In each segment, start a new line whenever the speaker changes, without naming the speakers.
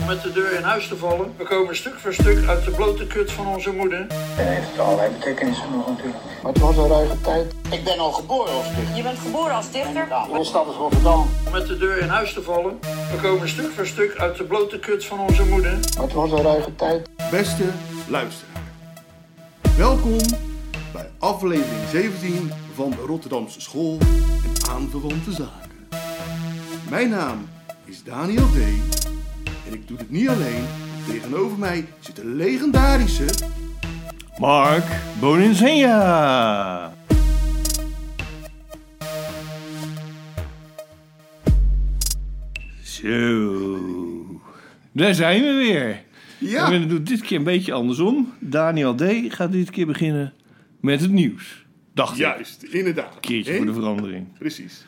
om met de deur in huis te vallen. We komen stuk voor stuk uit de blote kut van onze moeder.
En heeft het allerlei betekenissen nog natuurlijk.
Maar het was een ruige tijd.
Ik ben al geboren als dichter.
Je bent geboren als dichter?
Ja, mijn stad is Rotterdam.
Om met de deur in huis te vallen. We komen stuk voor stuk uit de blote kut van onze moeder.
Maar het was een ruige tijd.
Beste luisteraar, welkom bij aflevering 17 van de Rotterdamse School en aanverwante zaken. Mijn naam is Daniel D. en ik doe dit niet alleen. Tegenover mij zit de legendarische
Mark Boninsenja. Zo. Daar zijn we weer.
Ja.
En we doen het dit keer een beetje andersom. Daniel D. gaat dit keer beginnen met het nieuws. Dacht ik.
Juist, inderdaad.
Een keertje
Hè?
voor de verandering.
Precies.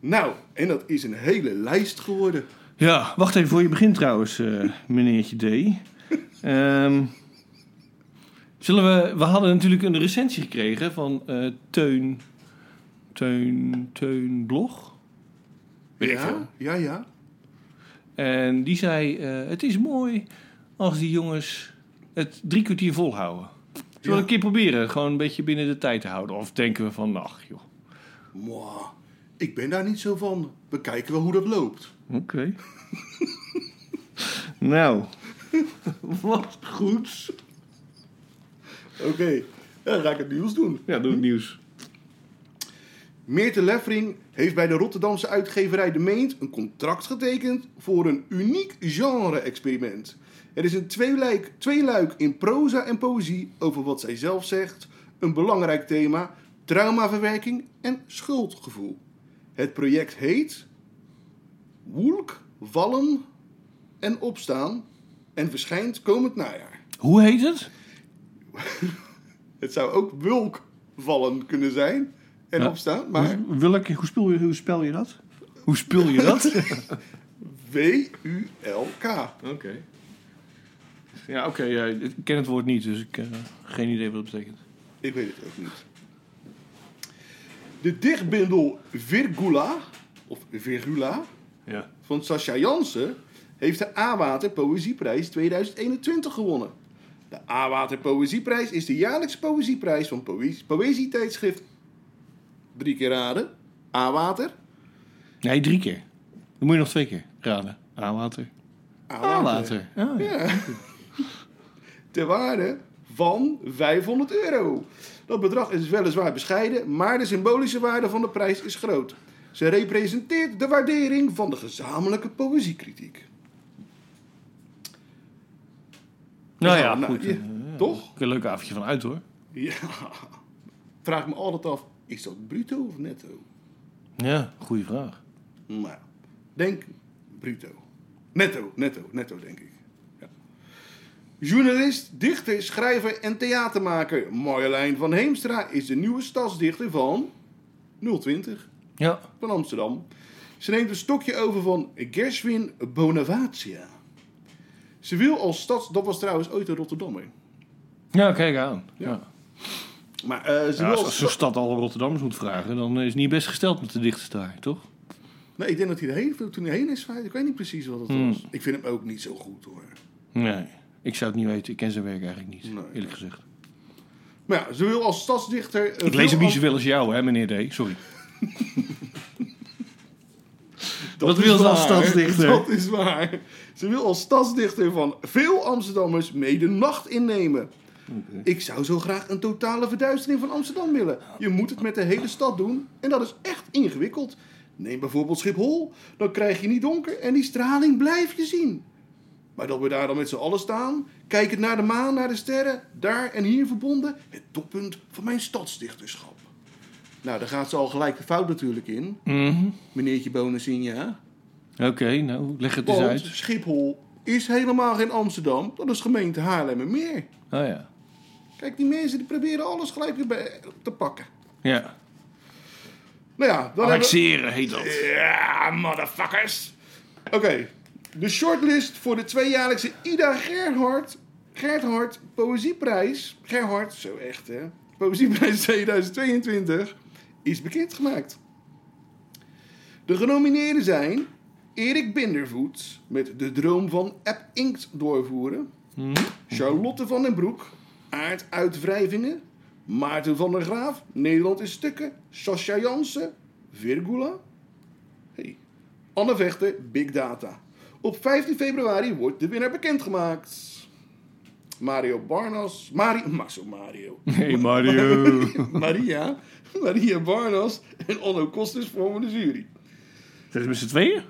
Nou, en dat is een hele lijst geworden.
Ja, wacht even voor je begint trouwens, eh, meneertje D. Ehm, zullen we... We hadden natuurlijk een recensie gekregen van eh, Teun... Teun... Teun Blog? Weet ik veel.
Ja, ja, ja.
En die zei, eh, het is mooi als die jongens het drie kwartier volhouden. Zullen we
Ja.
een keer proberen, gewoon een beetje binnen de tijd te houden? Of denken we van, ach joh.
Mwah. Ik ben daar niet zo van. We kijken wel hoe dat loopt.
Oké. nou, wat goed.
Oké, dan ga ik het nieuws doen.
Ja, doe het nieuws.
Meerte Leffering heeft bij de Rotterdamse uitgeverij De Meent een contract getekend voor een uniek genre-experiment. Er is een tweeluik, tweeluik in proza en poëzie over wat zij zelf zegt, een belangrijk thema, traumaverwerking en schuldgevoel. Het project heet Woelk, Vallen en Opstaan en verschijnt komend najaar.
Hoe heet het?
Het zou ook Wulk, Vallen kunnen zijn en
Ja.
Opstaan, maar...
Hoe, welke, hoe, speel je, hoe spel je dat? Hoe speel je dat? oké.
W-U-L-K.
Ja, oké. ja, ik ken het woord niet, dus ik heb geen idee wat dat betekent.
Ik weet het ook niet. De dichtbundel Virgula, of Virgula,
Ja.
van Sascha Jansen heeft de A-Water Poëzieprijs 2021 gewonnen. De A-Water Poëzieprijs is de jaarlijkse poëzieprijs van poëzie, poëzietijdschrift... Drie keer raden. A-Water.
Nee, drie keer. Dan moet je nog twee keer raden. A-water. A-water. Ah, ja.
Ja. Ter waarde van 500 euro. Dat bedrag is weliswaar bescheiden, maar de symbolische waarde van de prijs is groot. Ze representeert de waardering van de gezamenlijke poëziekritiek.
Nou ja,
nou,
goed.
ja,
Eh,
toch?
Een leuk avondje van uit hoor.
Ja. Vraag me altijd af, is dat bruto of netto?
Ja, goede vraag.
Nou, denk bruto. Netto, netto, netto denk ik. Ja. Journalist, dichter, schrijver en theatermaker Marjolein van Heemstra is de nieuwe stadsdichter van 020
Ja.
van Amsterdam. Ze neemt een stokje over van Gershwin Bonavacia. Ze wil als stads... Dat was trouwens ooit een Rotterdammer.
Ja, kijk aan. Ja.
Maar eh, ze
Ja,
wil
als
als
als zo'n stad al Rotterdammers moet vragen, dan is het niet best gesteld met de dichters daar, toch?
Nee, ik denk dat hij erheen, toen hij heen is verhuisd. Ik weet niet precies wat het
Hmm.
was. Ik vind hem ook niet zo goed hoor.
Nee. Ik zou het niet weten. Ik ken zijn werk eigenlijk niet,
Nee.
eerlijk gezegd.
Maar ja, ze wil als stadsdichter... eh,
Ik lees
veel
hem niet
am-
zoveel als jou, hè, meneer D. Sorry.
Dat
Wat wil
is
ze
waar.
als stadsdichter?
Dat is waar. Ze wil als stadsdichter van veel Amsterdammers mee de nacht innemen. Ik zou zo graag een totale verduistering van Amsterdam willen. Je moet het met de hele stad doen en dat is echt ingewikkeld. Neem bijvoorbeeld Schiphol, dan krijg je niet donker en die straling blijf je zien. Maar dat we daar dan met z'n allen staan, kijkend naar de maan, naar de sterren, daar en hier verbonden, het toppunt van mijn stadsdichterschap. Nou, daar gaat ze al gelijk de fout natuurlijk in,
Mhm.
meneertje Bonacinha.
Oké, nou, leg het eens
Want
uit.
Schiphol is helemaal geen Amsterdam. Dat is gemeente Haarlem en meer.
Oh ja.
Kijk, die mensen die proberen alles gelijk weer bij- te pakken.
Ja.
Nou ja, dan hebben we-
Annexeren heet dat.
Ja, motherfuckers. Oké, de shortlist voor de tweejaarlijkse Ida Gerhard, Gerhard Poëzieprijs. Gerhard, zo echt hè. Poëzieprijs 2022 is bekendgemaakt. De genomineerden zijn Erik Bindervoet met De Droom van App Inkt doorvoeren. Charlotte van den Broek, Aard uit Wrijvingen. Maarten van der Graaf, Nederland in stukken. Sascha Jansen, Virgula. Hey. Anne Vechter, Big Data. Op 15 februari wordt de winnaar bekendgemaakt. Mario Barnas. Mari maar zo Mario.
Hey Mario.
Maria. Maria Barnas en Onno Kostis vormen de jury.
Zijn ze met z'n tweeën?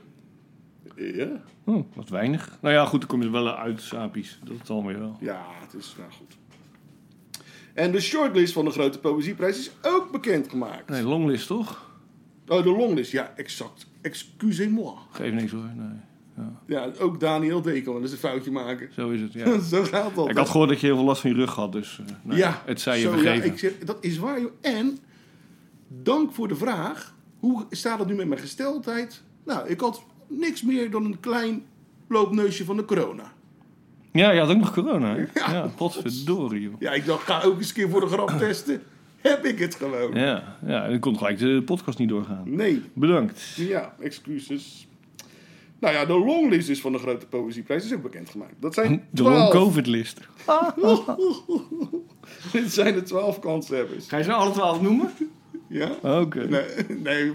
Ja.
Oh, wat weinig. Nou ja, goed, dan kom je er wel uit, sapies. Dat zal weer wel.
Ja, het is nou goed. En de shortlist van de Grote Poëzieprijs is ook bekendgemaakt.
Nee, longlist toch?
Oh, de longlist, ja, exact. Excusez-moi.
Geef niks hoor. Nee.
Ja, ook Daniel D. kan wel eens een foutje maken.
Zo is het, ja.
Zo gaat dat.
Ik had gehoord dat je heel veel last van je rug had, dus eh, nou,
ja,
het zei je
zo,
vergeven.
Ja, ik zeg, dat is waar, joh. En dank voor de vraag. Hoe staat het nu met mijn gesteldheid? Nou, ik had niks meer dan een klein loopneusje van de corona.
ja, je had ook nog corona. hè? Ja, potverdorie joh.
Ja, ik dacht, ga ook eens een keer voor de grap testen. Heb ik het gewoon?
Ja, ja, en dan kon gelijk de podcast niet doorgaan.
Nee.
Bedankt.
Ja, excuses. Nou ja, de longlist is van de grote poëzieprijs is ook bekendgemaakt. Dat zijn
De long
12.
covid list.
Dit zijn de twaalf kanshebbers.
Ga je ze nou alle twaalf noemen?
Ja?
Oké.
Nee, nee,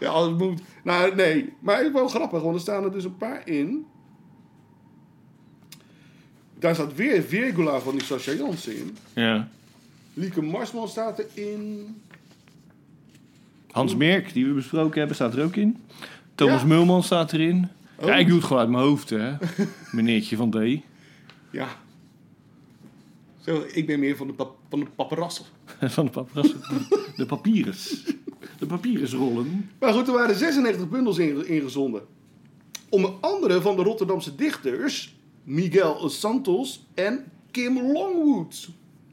ja, alles moet. Nou, nee, maar het is wel grappig, want er staan er dus een paar in. Daar staat weer Virgula van die Sascha Jansen in.
Ja.
Lieke Marsman staat erin.
Hans Merk, die we besproken hebben, staat er ook in. Thomas
Ja. Oh.
Mulman staat erin. Ja, ik doe het gewoon uit mijn hoofd, hè. Meneertje van D.
Ja. Zo, ik ben meer van de, pap- van de paparazzen.
Van de paparazzo. De papierus. De papierusrollen.
Maar goed, er waren 96 bundels inge- ingezonden. Onder andere van de Rotterdamse dichters Miguel Santos en Kim Longwood.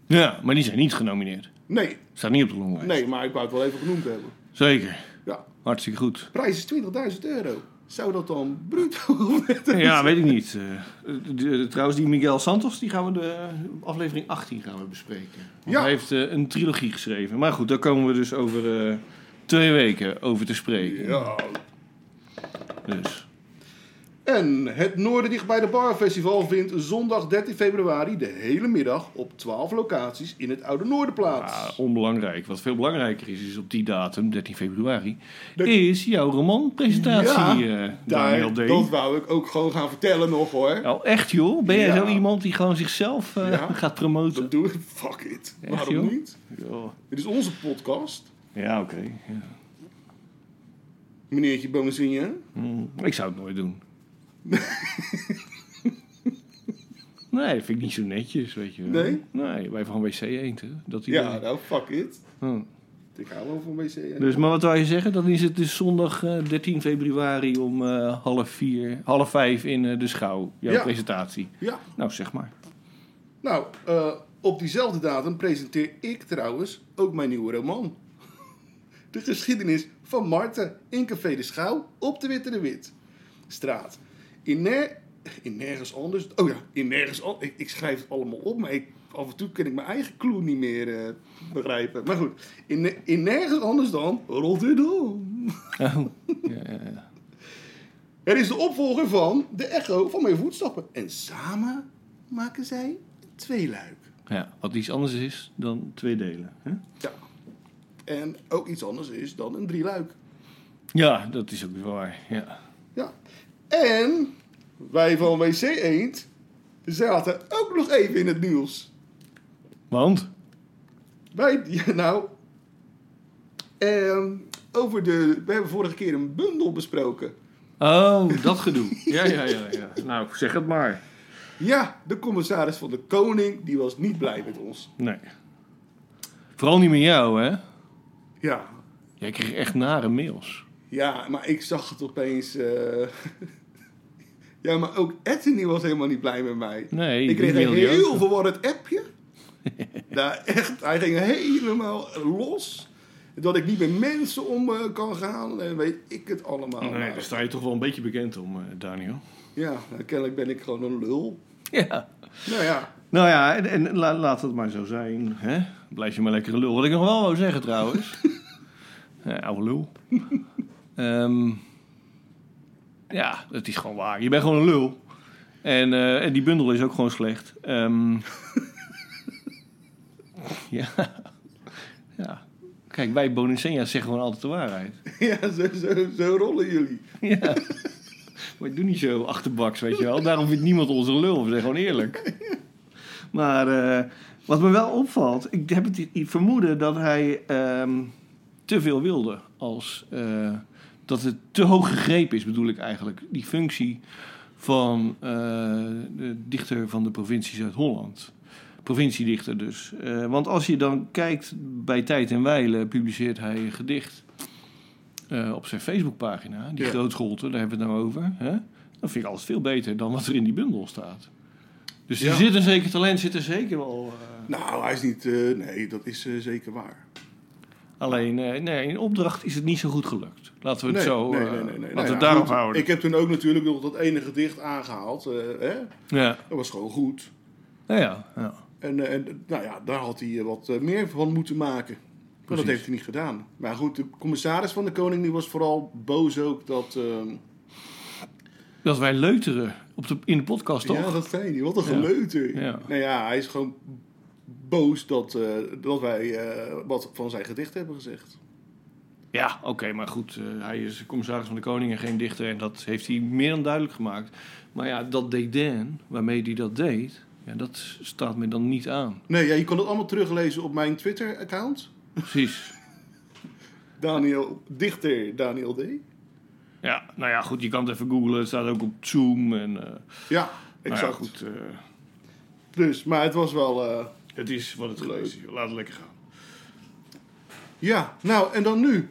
Ja, maar die zijn niet genomineerd.
Nee,
Staat niet op de longlijst.
nee, maar ik wou het wel even genoemd hebben.
Zeker.
Ja,
Hartstikke goed.
prijs is 20.000 euro. Zou dat dan bruto zijn?
Ja, weet ik niet. Eh, de- de- trouwens, die Miguel Santos, die gaan we de aflevering 18 gaan we bespreken. Want
Ja.
Hij heeft eh, een trilogie geschreven. Maar goed, daar komen we dus over eh, twee weken over te spreken.
Ja.
Dus.
En het Noorden dicht bij de Bar Festival vindt zondag 13 februari de hele middag op 12 locaties in het Oude Noorden
Ah,
plaats.
onbelangrijk. Wat veel belangrijker is, is op die datum, 13 februari,
Dat-
is jouw romanpresentatie, eh Daniel
Daar,
D.
dat wou ik ook gewoon gaan vertellen nog hoor.
Nou, echt joh. Ben jij
Ja.
zo iemand die gewoon zichzelf eh,
Ja.
gaat promoten?
Dat doe ik. Fuck it.
Echt,
Waarom
joh?
niet?
Ja,
Dit is onze podcast.
Ja, oké. ja.
Meneertje Bomazinja.
Mm, Ik zou het nooit doen. nee, vind ik niet zo netjes, weet je wel.
Nee?
Nee, wij van WC eend, hè. Dat idee.
Ja, nou, fuck it.
Hm.
Ik hou wel van WC. hè?
Dus, maar wat wou je zeggen? Dan is het dus zondag eh, 13 februari om eh, half vier, half vijf in eh, de schouw, jouw
Ja.
presentatie.
Ja.
Nou, zeg maar.
Nou, eh, op diezelfde datum presenteer ik trouwens ook mijn nieuwe roman. De geschiedenis van Marten in Café de Schouw op de Witte de Wit. Straat. In, ner- in nergens anders. Oh ja, in nergens anders. Ik, ik schrijf het allemaal op, maar ik, af en toe kan ik mijn eigen clue niet meer eh, begrijpen. Maar goed, in, ne- in nergens anders dan Rotterdam.
Ja, ja, ja.
Het is de opvolger van de echo van mijn voetstappen. En samen maken zij een tweeluik.
ja, wat iets anders is dan twee delen. Hè?
Ja. En ook iets anders is dan een drieluik.
Ja, dat is ook weer waar. Ja.
Ja. En wij van WC Eend zaten ook nog even in het nieuws.
Want?
Wij, ja, nou, ehm, over de, we hebben vorige keer een bundel besproken.
Oh, dat gedoe. ja, ja, ja, ja. Nou, zeg het maar.
Ja, de commissaris van de Koning, die was niet blij met ons.
Nee. Vooral niet met jou, hè?
Ja,
Jij kreeg echt nare mails.
Ja, maar ik zag het opeens. eh, ja, maar ook Anthony was helemaal niet blij met mij.
Nee,
ik kreeg
die
een
wilde je
heel
ook.
verwarrend appje. nou, echt. Hij ging helemaal los. Dat ik niet met mensen om eh, kan gaan en weet ik het allemaal.
Nee, dus-
Nou,
daar sta je toch wel een beetje bekend om, eh, Daniel.
Ja, nou, kennelijk ben ik gewoon een lul.
Ja.
Nou ja,
Nou ja, en, en la- laat het maar zo zijn. Hè? Blijf je maar lekker lul. Wat ik nog wel wou zeggen trouwens. Eh oude lul. Ehm, Ja, dat is gewoon waar. Je bent gewoon een lul. En, eh, en die bundel is ook gewoon slecht. Ehm, ja. ja. Kijk, wij Bonicenia zeggen gewoon altijd de waarheid.
Ja, zo, zo, zo rollen jullie.
Ja. Wij doen niet zo achterbaks, weet je wel. Daarom vindt niemand ons een lul. We zijn gewoon eerlijk. Maar eh, wat me wel opvalt... Ik heb het i- vermoeden dat hij ehm, te veel wilde. Als, eh, dat het te hoog gegrepen is, bedoel ik eigenlijk. Die functie van eh, de dichter van de provincie Zuid-Holland. Provinciedichter dus. Eh, want als je dan kijkt bij Tijd en Weilen... publiceert hij een gedicht... Eh, op zijn Facebookpagina, die
Ja.
grootscholte, daar hebben we het nou over. Hè? Dat vind ik altijd veel beter dan wat er in die bundel staat. Dus
Ja.
er zit een zeker talent, zit er zeker wel. eh.
Nou, hij is niet... eh, nee, dat is eh, zeker waar.
alleen eh, nee, in opdracht is het niet zo goed gelukt. Laten we het zo. eh, Laten
Nou
we
ja,
het daarop
goed,
houden.
Ik heb toen ook natuurlijk nog dat ene gedicht aangehaald. eh, hè?
Ja.
Dat was gewoon goed.
Nou ja, ja.
En, eh, en nou ja, daar had hij eh, wat eh, meer van moeten maken. Maar dat
Precies.
heeft hij niet gedaan. Maar goed, de commissaris van de koning die was vooral boos ook dat... ehm,
Dat wij leuteren op de, in de podcast toch?
Ja, dat zei hij. Wat een
Ja.
geleuter.
Ja.
Nou ja, hij is gewoon boos dat, eh, dat wij eh, wat van zijn gedicht hebben gezegd.
Ja, oké, maar goed. eh, hij is commissaris van de Koning en geen dichter. En dat heeft hij meer dan duidelijk gemaakt. Maar ja, dat dédain waarmee hij dat deed, ja, dat staat me dan niet aan.
Nee, ja, je kan het allemaal teruglezen op mijn Twitter-account.
Precies.
Daniel, dichter Daniel D.
Ja, nou ja, goed, je kan het even googlen. Het staat ook op Zoom. En, eh,
Ja,
nou
exact.
ja, goed. eh,
Dus, maar het was wel... eh,
het is wat het geluid is. Laat het lekker gaan.
ja, nou, en dan nu.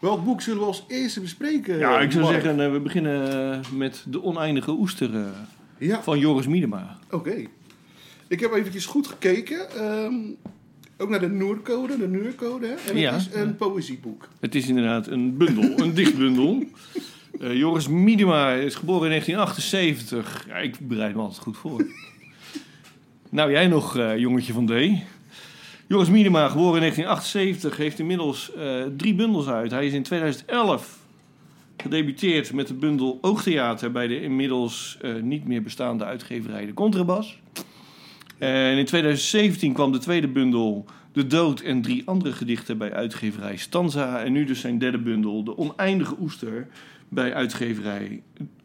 Welk boek zullen we als eerste bespreken?
Ja, ik zou
Mark?
zeggen, eh, we beginnen eh, met De Oneindige Oester eh,
Ja,
van Joris Miedema.
oké. Ik heb eventjes goed gekeken. ehm, ook naar de Noorcode, de Nuurcode. hè? En het
Ja.
is een poëzieboek.
Het is inderdaad een bundel, een dichtbundel. Eh, Joris Miedema is geboren in 1978. Ja, ik bereid me altijd goed voor. nou, jij nog, eh, jongetje van D. Joris Miedema, geboren in 1978, heeft inmiddels eh, drie bundels uit. Hij is in 2011 gedebuteerd met de bundel Oogtheater... bij de inmiddels eh, niet meer bestaande uitgeverij De Contrabas. Eh, En in 2017 kwam de tweede bundel de Dood en drie andere gedichten bij uitgeverij Stanza. En nu dus zijn derde bundel, De Oneindige Oester, bij uitgeverij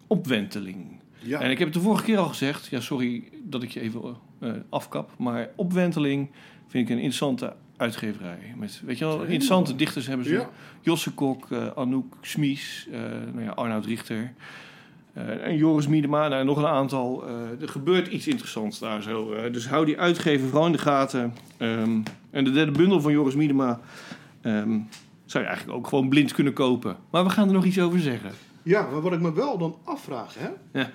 Opwenteling.
Ja.
En ik heb het de vorige keer al gezegd, ja sorry dat ik je even eh, afkap, maar Opwenteling vind ik een interessante uitgeverij. Met, weet je wel, interessante dichters hebben ze.
Ja.
Josse Kok, eh, Anouk Smies, eh, nou ja, Arnoud Richter. eh, en Joris Miedema, nou, nog een aantal. Eh, er gebeurt iets interessants daar zo. eh, dus hou die uitgever vooral in de gaten. Ehm, en de derde bundel van Joris Miedema ehm, zou je eigenlijk ook gewoon blind kunnen kopen. Maar we gaan er nog iets over zeggen.
Ja, maar wat ik me wel dan afvraag, hè,
Ja.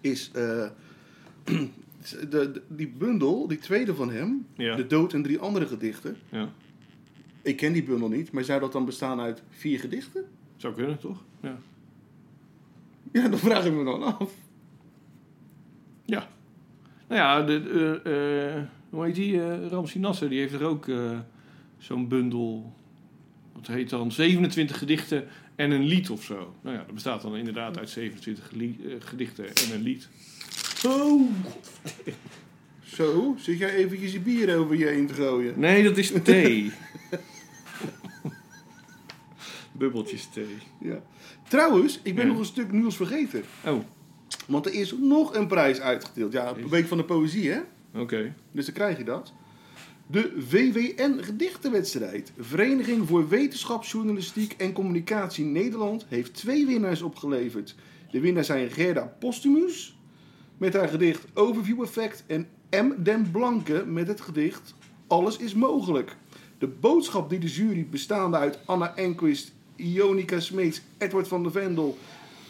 is eh, de, de- die bundel, die tweede van hem,
Ja.
De Dood en drie andere gedichten.
ja,
Ik ken die bundel niet, maar zou dat dan bestaan uit vier gedichten?
zou kunnen toch? Ja.
Ja, dat vraag ik me dan af.
ja. Nou ja, de, eh, eh, hoe heet die? eh Ramsi Nasser, die heeft er ook eh, zo'n bundel. Wat heet dan? 27 gedichten en een lied of zo. Nou ja, dat bestaat dan inderdaad uit 27 li- eh, gedichten en een lied.
Oh. Zo, zit jij eventjes je bier over je heen te gooien?
Nee, dat is thee. Bubbeltjes thee.
Ja. Trouwens, ik ben
Ja.
nog een stuk nieuws vergeten.
Oh, oké.
Want er is nog een prijs uitgedeeld. Ja, de Week van de Poëzie, hè? Dus dan krijg je dat. De WWN Gedichtenwedstrijd. Vereniging voor Wetenschap, Journalistiek en Communicatie Nederland heeft twee winnaars opgeleverd. De winnaars zijn Gerda Postumus met haar gedicht Overview Effect en M. Den Blanke met het gedicht Alles is mogelijk. De boodschap die de jury, bestaande uit Anna Enquist, Ionica Smeets, Edward van der Vendel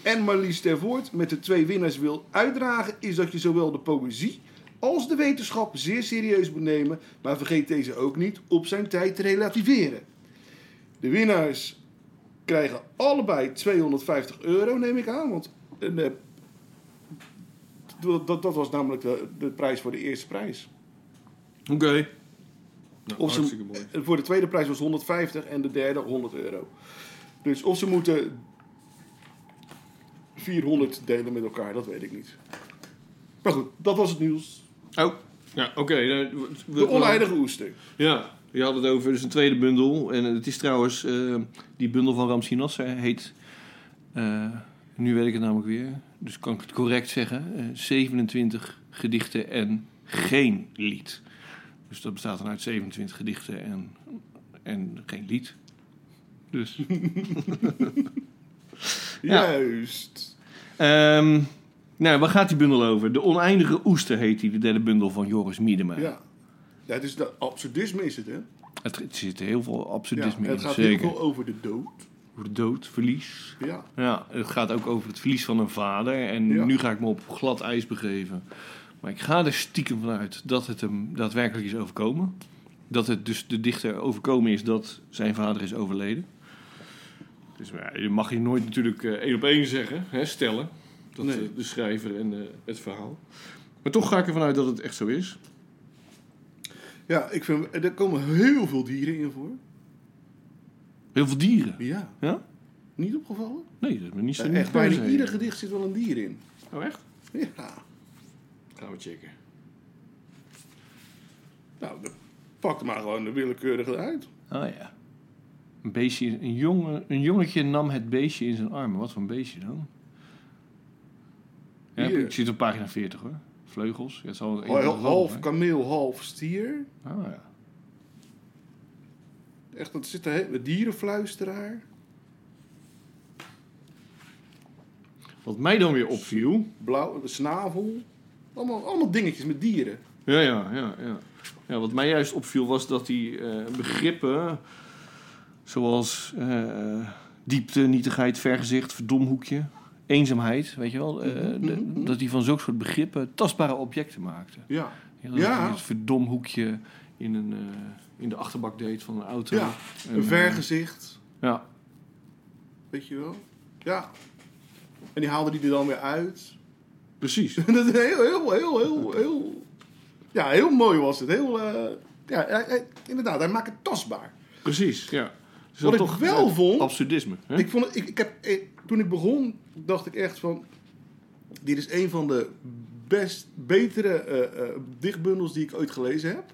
en Marlies Tervoort met de twee winnaars wil uitdragen, is dat je zowel de poëzie als de wetenschap zeer serieus moet nemen, maar vergeet deze ook niet op zijn tijd te relativeren. De winnaars krijgen allebei 250 euro, neem ik aan, want een, eh, dat, dat, dat was namelijk de, de prijs voor de eerste prijs.
Oké. Nou,
Of ze-
hartstikke mooi.
En Voor de tweede prijs was 150 en de derde 100 euro. Dus of ze moeten 400 delen met elkaar, dat weet ik niet. Maar goed, dat was het nieuws.
Oh, ja, oké. eh, we- we-
De oneindige oester.
Ja, je had het over dus een tweede bundel. En het is trouwens, eh, die bundel van Ramsey Nasser heet... eh, nu weet ik het namelijk weer, dus kan ik het correct zeggen. eh, 27 gedichten en geen lied. Dus dat bestaat dan uit 27 gedichten en, en geen lied. Dus... Ja.
Juist.
Ehm, nou, waar gaat die bundel over? De Oneindige Oester heet die, de derde bundel van Joris Miedema.
Ja. ja het is dat absurdisme is het, hè?
Het, er zit heel veel
Ja,
absurdisme in,
het gaat
zeker.
heel veel over de dood.
Over dood, verlies.
Ja.
Ja, het gaat ook over het verlies van een vader. En
Ja.
nu ga ik me op glad ijs begeven. Maar ik ga er stiekem vanuit dat het hem daadwerkelijk is overkomen. Dat het dus de dichter overkomen is dat zijn vader is overleden. Dus maar ja, je mag hier nooit natuurlijk eh, één op één zeggen, hè, stellen. Dat
Nee.
eh, de schrijver en eh, het verhaal. Maar toch ga ik ervan uit dat het echt zo is.
Ja, ik vind, er komen heel veel dieren in voor.
Heel veel dieren.
Ja.
Ja?
Niet opgevallen?
Nee, dat is me niet zo
Ja,
niet
echt,
per
bijna
se.
ieder gedicht zit wel een dier in.
Oh, echt?
Ja.
Gaan we checken.
Nou, dan pak er maar gewoon de willekeurige uit.
Oh ja. Een, beestje, een, jongen, een jongetje nam het beestje in zijn armen. Wat voor een beestje dan? Ja,
Hier.
ik zit op pagina 40 hoor. Vleugels. Ja, het zal een
Half, half
zijn.
kameel, half stier.
Ah, ja.
Echt, dat zit er he- dierenfluisteraar.
Wat mij dan weer opviel.
Blauw, de snavel. Allemaal, allemaal dingetjes met dieren.
Ja, ja, ja, ja. ja wat mij juist opviel was dat die eh, begrippen. Zoals eh, eh, diepte, nietigheid, vergezicht, verdomhoekje. Eenzaamheid, weet je wel. eh, de- dat die van zulke soort begrippen tastbare objecten maakten.
Ja.
Ja, dat
Ja.
hij Het verdomhoekje in, een, eh, in de achterbak deed van een auto.
Ja,
En,
Een
eh,
vergezicht,
ja.
weet je wel. Ja. En die haalde die er dan weer uit.
Precies.
dat is heel, heel, heel, heel, heel... Ja, heel mooi was het. Heel, eh, ja, hij- hij- inderdaad, hij maakt het tastbaar.
Precies, ja. Dus
Wat
dat
ik wel
eh,
vond-
Absurdisme. Hè?
Ik vond het, ik, ik heb, ik- toen ik begon, dacht ik echt van... Dit is een van de best betere eh, eh, dichtbundels die ik ooit gelezen heb.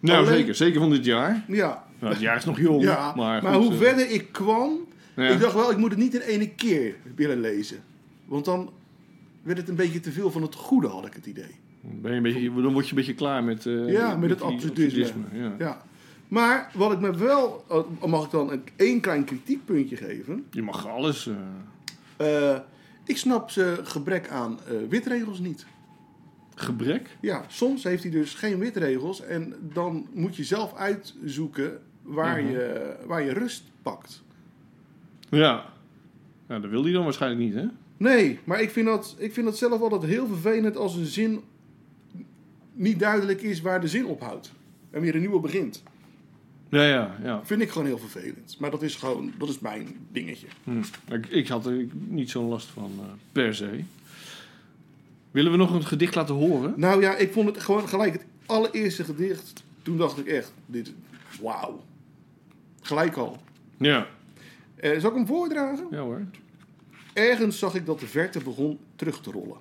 nou,
alleen-
zeker. Zeker van dit jaar.
Ja,
Nou, het jaar is nog jong.
ja.
maar
maar,
goed,
hoe
eh,
verder ik kwam...
ja.
Ik dacht wel, ik moet het niet in ene keer willen lezen. Want dan werd het een beetje te veel van het goede, had ik het idee.
ben je een beetje, dan word je een beetje klaar met... eh,
Ja, met het
die
absurdisme.
Ja.
Ja. Maar wat ik me wel... eh, Mag ik dan een, één klein kritiekpuntje geven?
Je mag alles... eh,
Eh, ik snap zijn gebrek aan eh, witregels niet.
gebrek?
Ja, soms heeft hij dus geen witregels. En dan moet je zelf uitzoeken waar,
Mhm.
je, waar je rust pakt.
Ja. Nou, dat wil hij dan waarschijnlijk niet, hè?
Nee, maar ik vind, dat, ik vind dat zelf altijd heel vervelend als een zin niet duidelijk is waar de zin ophoudt. En weer een nieuwe begint.
Ja, ja, ja.
Vind ik gewoon heel vervelend. Maar dat is gewoon, dat is mijn dingetje.
Hm. Ik, ik had er niet zo'n last van, eh, per se. Willen we nog een gedicht laten horen?
Nou ja, ik vond het gewoon gelijk het allereerste gedicht. Toen dacht ik echt, dit, wauw. Gelijk al.
Ja.
Eh, zal ik hem voordragen?
Ja hoor.
Ergens zag ik dat de verte begon terug te rollen.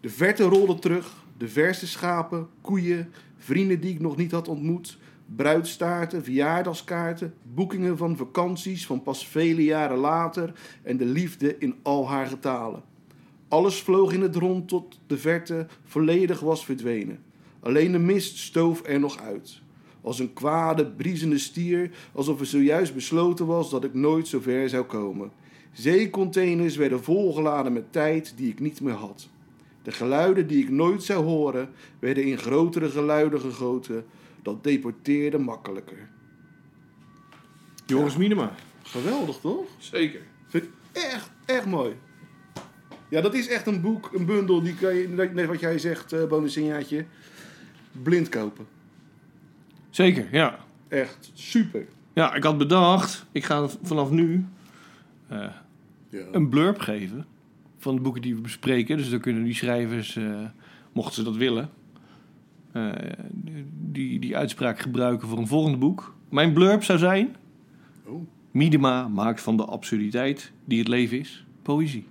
De verte rolde terug, de verse schapen, koeien, vrienden die ik nog niet had ontmoet, bruidstaarten, verjaardagskaarten, boekingen van vakanties van pas vele jaren later en de liefde in al haar getalen. Alles vloog in het rond tot de verte volledig was verdwenen. Alleen de mist stoof er nog uit. Als een kwade, briezende stier, alsof er zojuist besloten was dat ik nooit zo ver zou komen. Zeecontainers werden volgeladen met tijd die ik niet meer had. De geluiden die ik nooit zou horen, werden in grotere geluiden gegoten. Dat deporteerde makkelijker.
Joris Minema.
Geweldig, toch?
Zeker.
Vind ik echt, echt mooi. Ja, dat is echt een boek, een bundel, die kan je, net wat jij zegt, eh Bonusinjaatje, blind kopen.
Zeker, ja.
Echt super.
Ja, ik had bedacht, ik ga vanaf nu eh,
Ja.
een blurb geven van de boeken die we bespreken. Dus dan kunnen die schrijvers, eh, mochten ze dat willen, eh, die, die uitspraak gebruiken voor een volgende boek. Mijn blurb zou zijn...
Oh.
Miedema maakt van de absurditeit die het leven is, poëzie.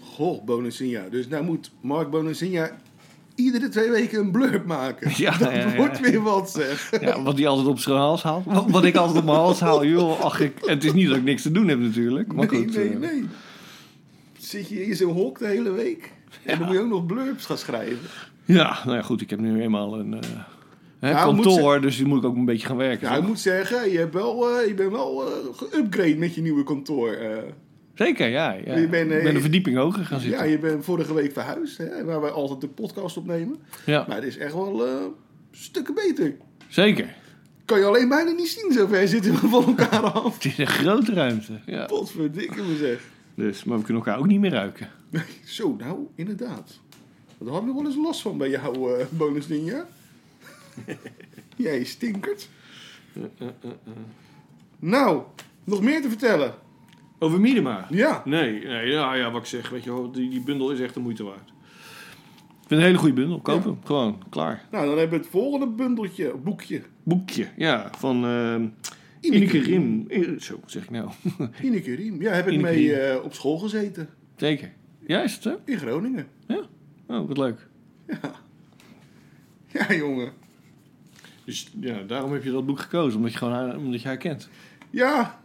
goh, Bonacinha. Dus nou moet Mark Bonacinha iedere twee weken een blurb maken.
Ja,
dat
ja, ja.
wordt weer wat, zeg.
Ja, wat die altijd op zijn hals haalt. Wat, wat ik altijd op mijn hals haal, joh. Ach, ik, het is niet dat ik niks te doen heb natuurlijk. Maar
nee,
goed,
nee,
eh,
nee. Zit je in zo'n hok de hele week? En dan moet je ook nog blurbs gaan schrijven.
Ja, nou ja, goed. Ik heb nu eenmaal een eh, hè,
Nou, moet
kantoor, dus die moet ik ook een beetje gaan werken.
Nou,
toch?
ik moet zeggen, je, hebt wel, eh, je bent wel eh geüpgrade met je nieuwe kantoor. eh.
Zeker, ja. ja.
Je bent, eh,
ik ben een verdieping hoger gaan
ja,
zitten. Ja,
je bent vorige week verhuisd, hè, waar wij altijd de podcast opnemen. Maar het is echt wel eh, stukken beter.
zeker.
Kan je alleen bijna niet zien, zo ver zitten we van elkaar af.
Het is een grote ruimte. Ja.
Potverdikke me zeg.
Dus, maar we kunnen elkaar ook niet meer ruiken.
Zo, nou, inderdaad. Daar had ik nog wel eens last van bij jouw eh bonusding, ja? Jij stinkert. Nou, nog meer te vertellen.
Over Miedema?
Ja,
Nee, nee ja, ja, wat ik zeg. Weet je, wel, die, die bundel is echt de moeite waard. Ik vind een hele goede bundel. Koop hem. Gewoon. Klaar.
nou dan hebben we het volgende bundeltje, boekje.
Boekje. Ja, van eh
Ineke
Ineke Rim. Eh, Zo, wat zeg ik nou.
Ineke Riem. Ja, heb ik
Ineke
mee
Riem.
eh, op school gezeten.
Zeker. Ja, is het zo?
In Groningen.
Oh, wat leuk.
Ja, jongen.
Dus ja, daarom heb je dat boek gekozen. Omdat je, gewoon haar, omdat je haar kent.
Ja.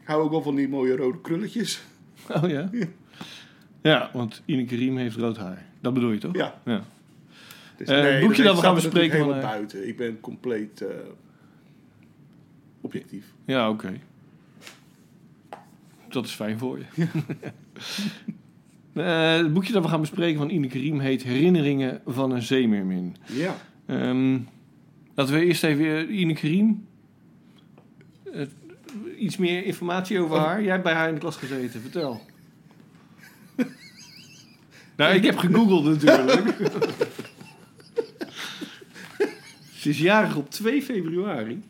Ik hou ook wel van die mooie rode krulletjes.
Oh ja? Ja, want Ineke Riem heeft rood haar. Dat bedoel je toch?
Ja.
ja.
Dus,
Eh, boekje dat we
staat
gaan
er
bespreken
natuurlijk helemaal
van, eh,
buiten. Ik ben compleet eh, objectief.
Ja, oké. Dat is fijn voor je. Eh, het boekje dat we gaan bespreken van Ineke Riem heet Herinneringen van een zeemeermin.
Ja.
Ehm, laten we eerst even eh, Ineke Riem. eh, iets meer informatie over haar. Jij hebt bij haar in de klas gezeten, vertel. nou, ik heb gegoogeld natuurlijk. Ze is jarig op 2 februari.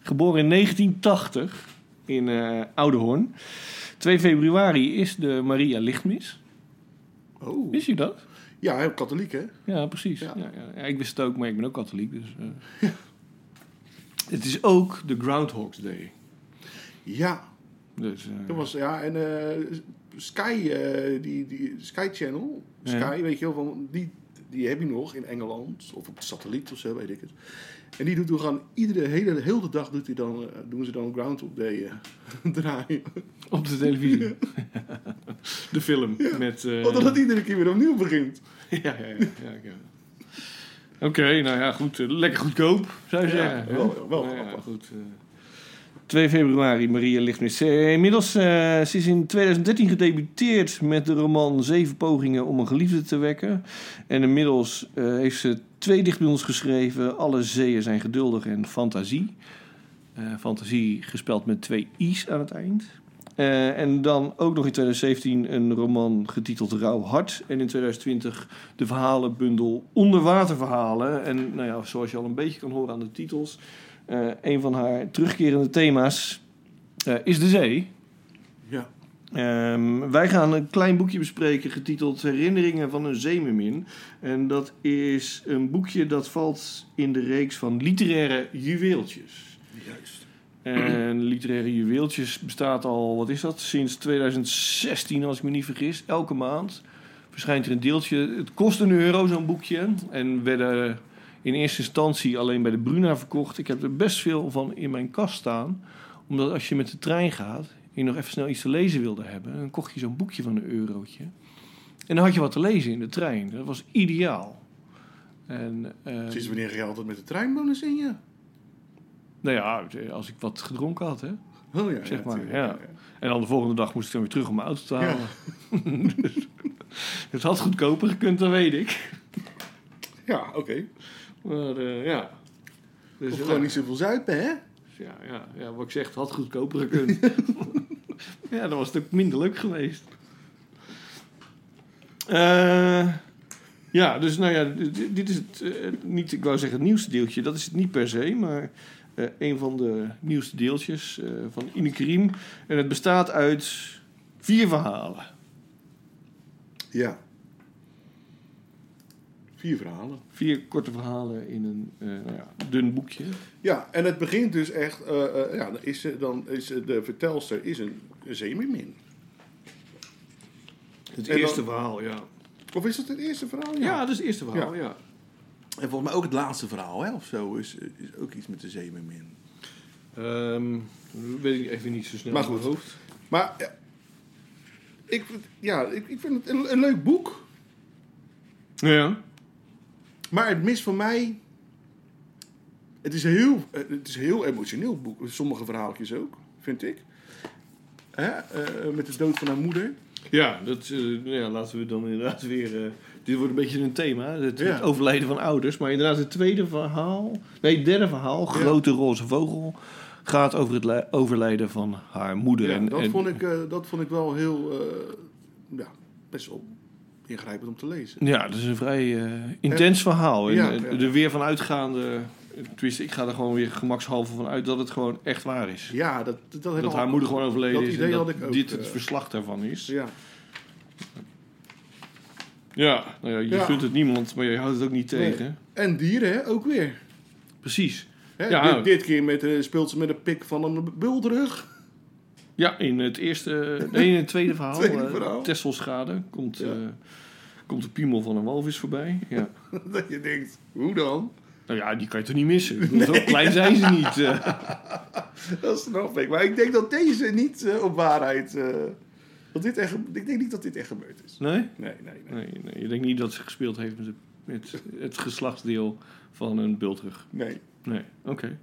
Geboren in 1980 in eh Oudehoorn. 2 februari is de Maria Lichtmis.
Oh.
Wist je dat?
Ja, heel katholiek, hè?
Ja, precies. Ja.
Ja.
Ja, ja. ik wist het ook, maar ik ben ook katholiek. Dus, eh. Het is ook de Groundhog's Day.
Ja.
Dus, eh,
Dat was, ja, en eh, Sky, eh, die, die Sky Channel, Sky,
Ja.
weet je wel, van, die, die heb je nog in Engeland, of op de satelliet of zo, weet ik het. En die doet dan gewoon iedere, hele, heel de dag doet hij dan, eh, doen ze dan Groundhog Day eh, draaien.
op de televisie. de film. Met, eh,
Omdat het iedere keer weer opnieuw begint.
ja, ja, ja, ja, ja. Oké, nou ja, goed. eh, lekker goedkoop, zou je
Ja,
zeggen. hè?
wel- wel
Nou ja,
grappig.
goed. eh. 2 februari, Maria Lichtmis. Eh, Inmiddels eh, ze is in 2013 gedebuteerd met de roman Zeven pogingen om een geliefde te wekken. En inmiddels eh, heeft ze twee dichtbundels geschreven. Alle zeeën zijn geduldig en fantasie. Eh, fantasie gespeld met twee i's aan het eind. Eh, en dan ook nog in 2017 een roman getiteld Rauw Hart. En in 2020 de verhalenbundel Onderwaterverhalen. En nou ja, zoals je al een beetje kan horen aan de titels... eh, een van haar terugkerende thema's eh, is de zee.
Ja.
Ehm, wij gaan een klein boekje bespreken getiteld Herinneringen van een zeemermin. En dat is een boekje dat valt in de reeks van literaire juweeltjes.
Juist.
En literaire juweeltjes bestaat al, wat is dat, sinds 2016 als ik me niet vergis. Elke maand verschijnt er een deeltje. Het kost een euro zo'n boekje. En werden in eerste instantie alleen bij de Bruna verkocht. Ik heb er best veel van in mijn kast staan. Omdat als je met de trein gaat en je nog even snel iets te lezen wilde hebben... dan kocht je zo'n boekje van een eurotje. En dan had je wat te lezen in de trein. Dat was ideaal. En, eh,
Sinds wanneer ga je altijd met de treinbonus in je?
nou ja, als ik wat gedronken had, hè.
Oh ja,
Zeg maar,
tuurlijk,
ja. En dan de volgende dag moest ik dan weer terug om mijn auto te
Ja.
halen. Dus het had goedkoper gekund, dat weet ik.
Ja, oké.
Maar eh, ja. Dus,
Of
ja,
gewoon niet zoveel zuipen, hè?
ja, ja, ja, wat ik zeg, het had goedkoper gekund. ja, dan was het ook minder leuk geweest. Eh, ja, dus nou ja, d- d- dit is het, eh, het niet, ik wou zeggen het nieuwste deeltje. Dat is het niet per se, maar eh, een van de nieuwste deeltjes eh, van Ineke Riem. En het bestaat uit vier verhalen.
Ja. Vier verhalen.
Vier korte verhalen in een eh, nou ja, dun boekje.
Ja, en het begint dus echt... eh, eh, ja, dan is, ze- dan is ze- de vertelster is een, een zeemermin.
Het
En dan-
eerste verhaal, ja.
Of is dat het eerste verhaal?
Ja, dat is het eerste verhaal, ja.
En volgens mij ook het laatste verhaal, hè, of zo, is, is ook iets met de zeemermin.
Ehm, weet ik even niet zo snel
Maar
uit mijn
goed.
hoofd.
Maar ja, ik, ja, ik, ik vind het een, een leuk boek.
Nou Ja.
Maar het mist voor mij... Het is, heel, eh, het is een heel emotioneel boek. Sommige verhaaltjes ook, vind ik. Hè? eh, met de dood van haar moeder.
Ja, dat, eh, nou ja, laten we dan inderdaad weer... eh, dit wordt een beetje een thema, het,
Ja.
het overlijden van ouders. Maar inderdaad, het tweede verhaal... Nee, het derde verhaal, Grote Roze Vogel... gaat over het li- overlijden van haar moeder.
Ja,
en,
dat,
en-
vond ik, eh, dat vond ik wel heel... eh, ja, best wel ingrijpend om te lezen.
Ja, dat is een vrij eh, intens verhaal. En
ja,
eh,
ja.
er weer van uitgaande... Tenminste, ik ga er gewoon weer gemakshalve van uit... dat het gewoon echt waar is.
Ja, dat, dat, heb
Dat
al-
haar moeder gewoon overleden
dat
is. en
idee
dat
had ik ook,
dit
eh.
het verslag daarvan is.
Ja.
Ja, nou ja je
Ja.
gunt het niemand, maar je houdt het ook niet tegen.
En dieren, hè, ook weer.
Precies.
Hè,
Ja.
dit, dit keer met, eh, speelt ze met een pik van een bultrug.
Ja, in het eerste, nee, in het tweede verhaal,
Tweede
eh,
verhaal.
Tesselschade, komt, eh, komt de piemel van een walvis voorbij. Ja.
dat je denkt, hoe dan?
nou ja, die kan je toch niet missen? Ik bedoel, Zo klein zijn ze niet. eh.
Dat snap ik. Maar ik denk dat deze niet eh, op waarheid... eh, dat dit echt, ik denk niet dat dit echt gebeurd is.
nee?
Nee, nee, nee.
Nee, nee? Je denkt niet dat ze gespeeld heeft met, de- met het geslachtsdeel van een bultrug.
nee.
Nee, oké.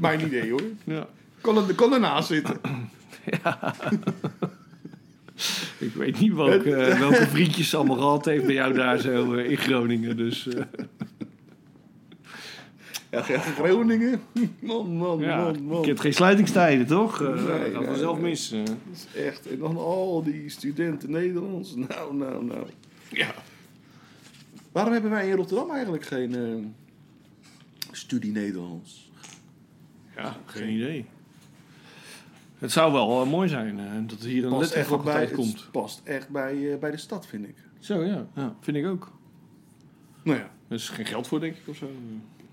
Mijn idee, hoor.
Ja.
Kan, er, kan ernaast zitten.
Ik weet niet welke, eh, welke vriendjes ze allemaal gehad heeft bij jou daar zo eh, in Groningen. Dus eh,
Ja, Groningen. Man, man,
ja,
man, man.
je hebt geen sluitingstijden, toch? Eh,
Nee,
dat gaat
nee,
vanzelf
nee.
mis. eh.
Dat is echt. En dan al die studenten Nederlands. Nou, nou, nou.
ja.
Waarom hebben wij in Rotterdam eigenlijk geen... eh,
Studie Nederlands.
Ja, geen idee. Het zou wel eh, mooi zijn eh, dat er hier een
past echt wel bij,
letterfaculteit
het
komt.
past echt bij, eh, bij de stad, vind ik.
Zo ja. ja, vind ik ook.
Nou ja.
Er is geen geld voor, denk ik, of zo.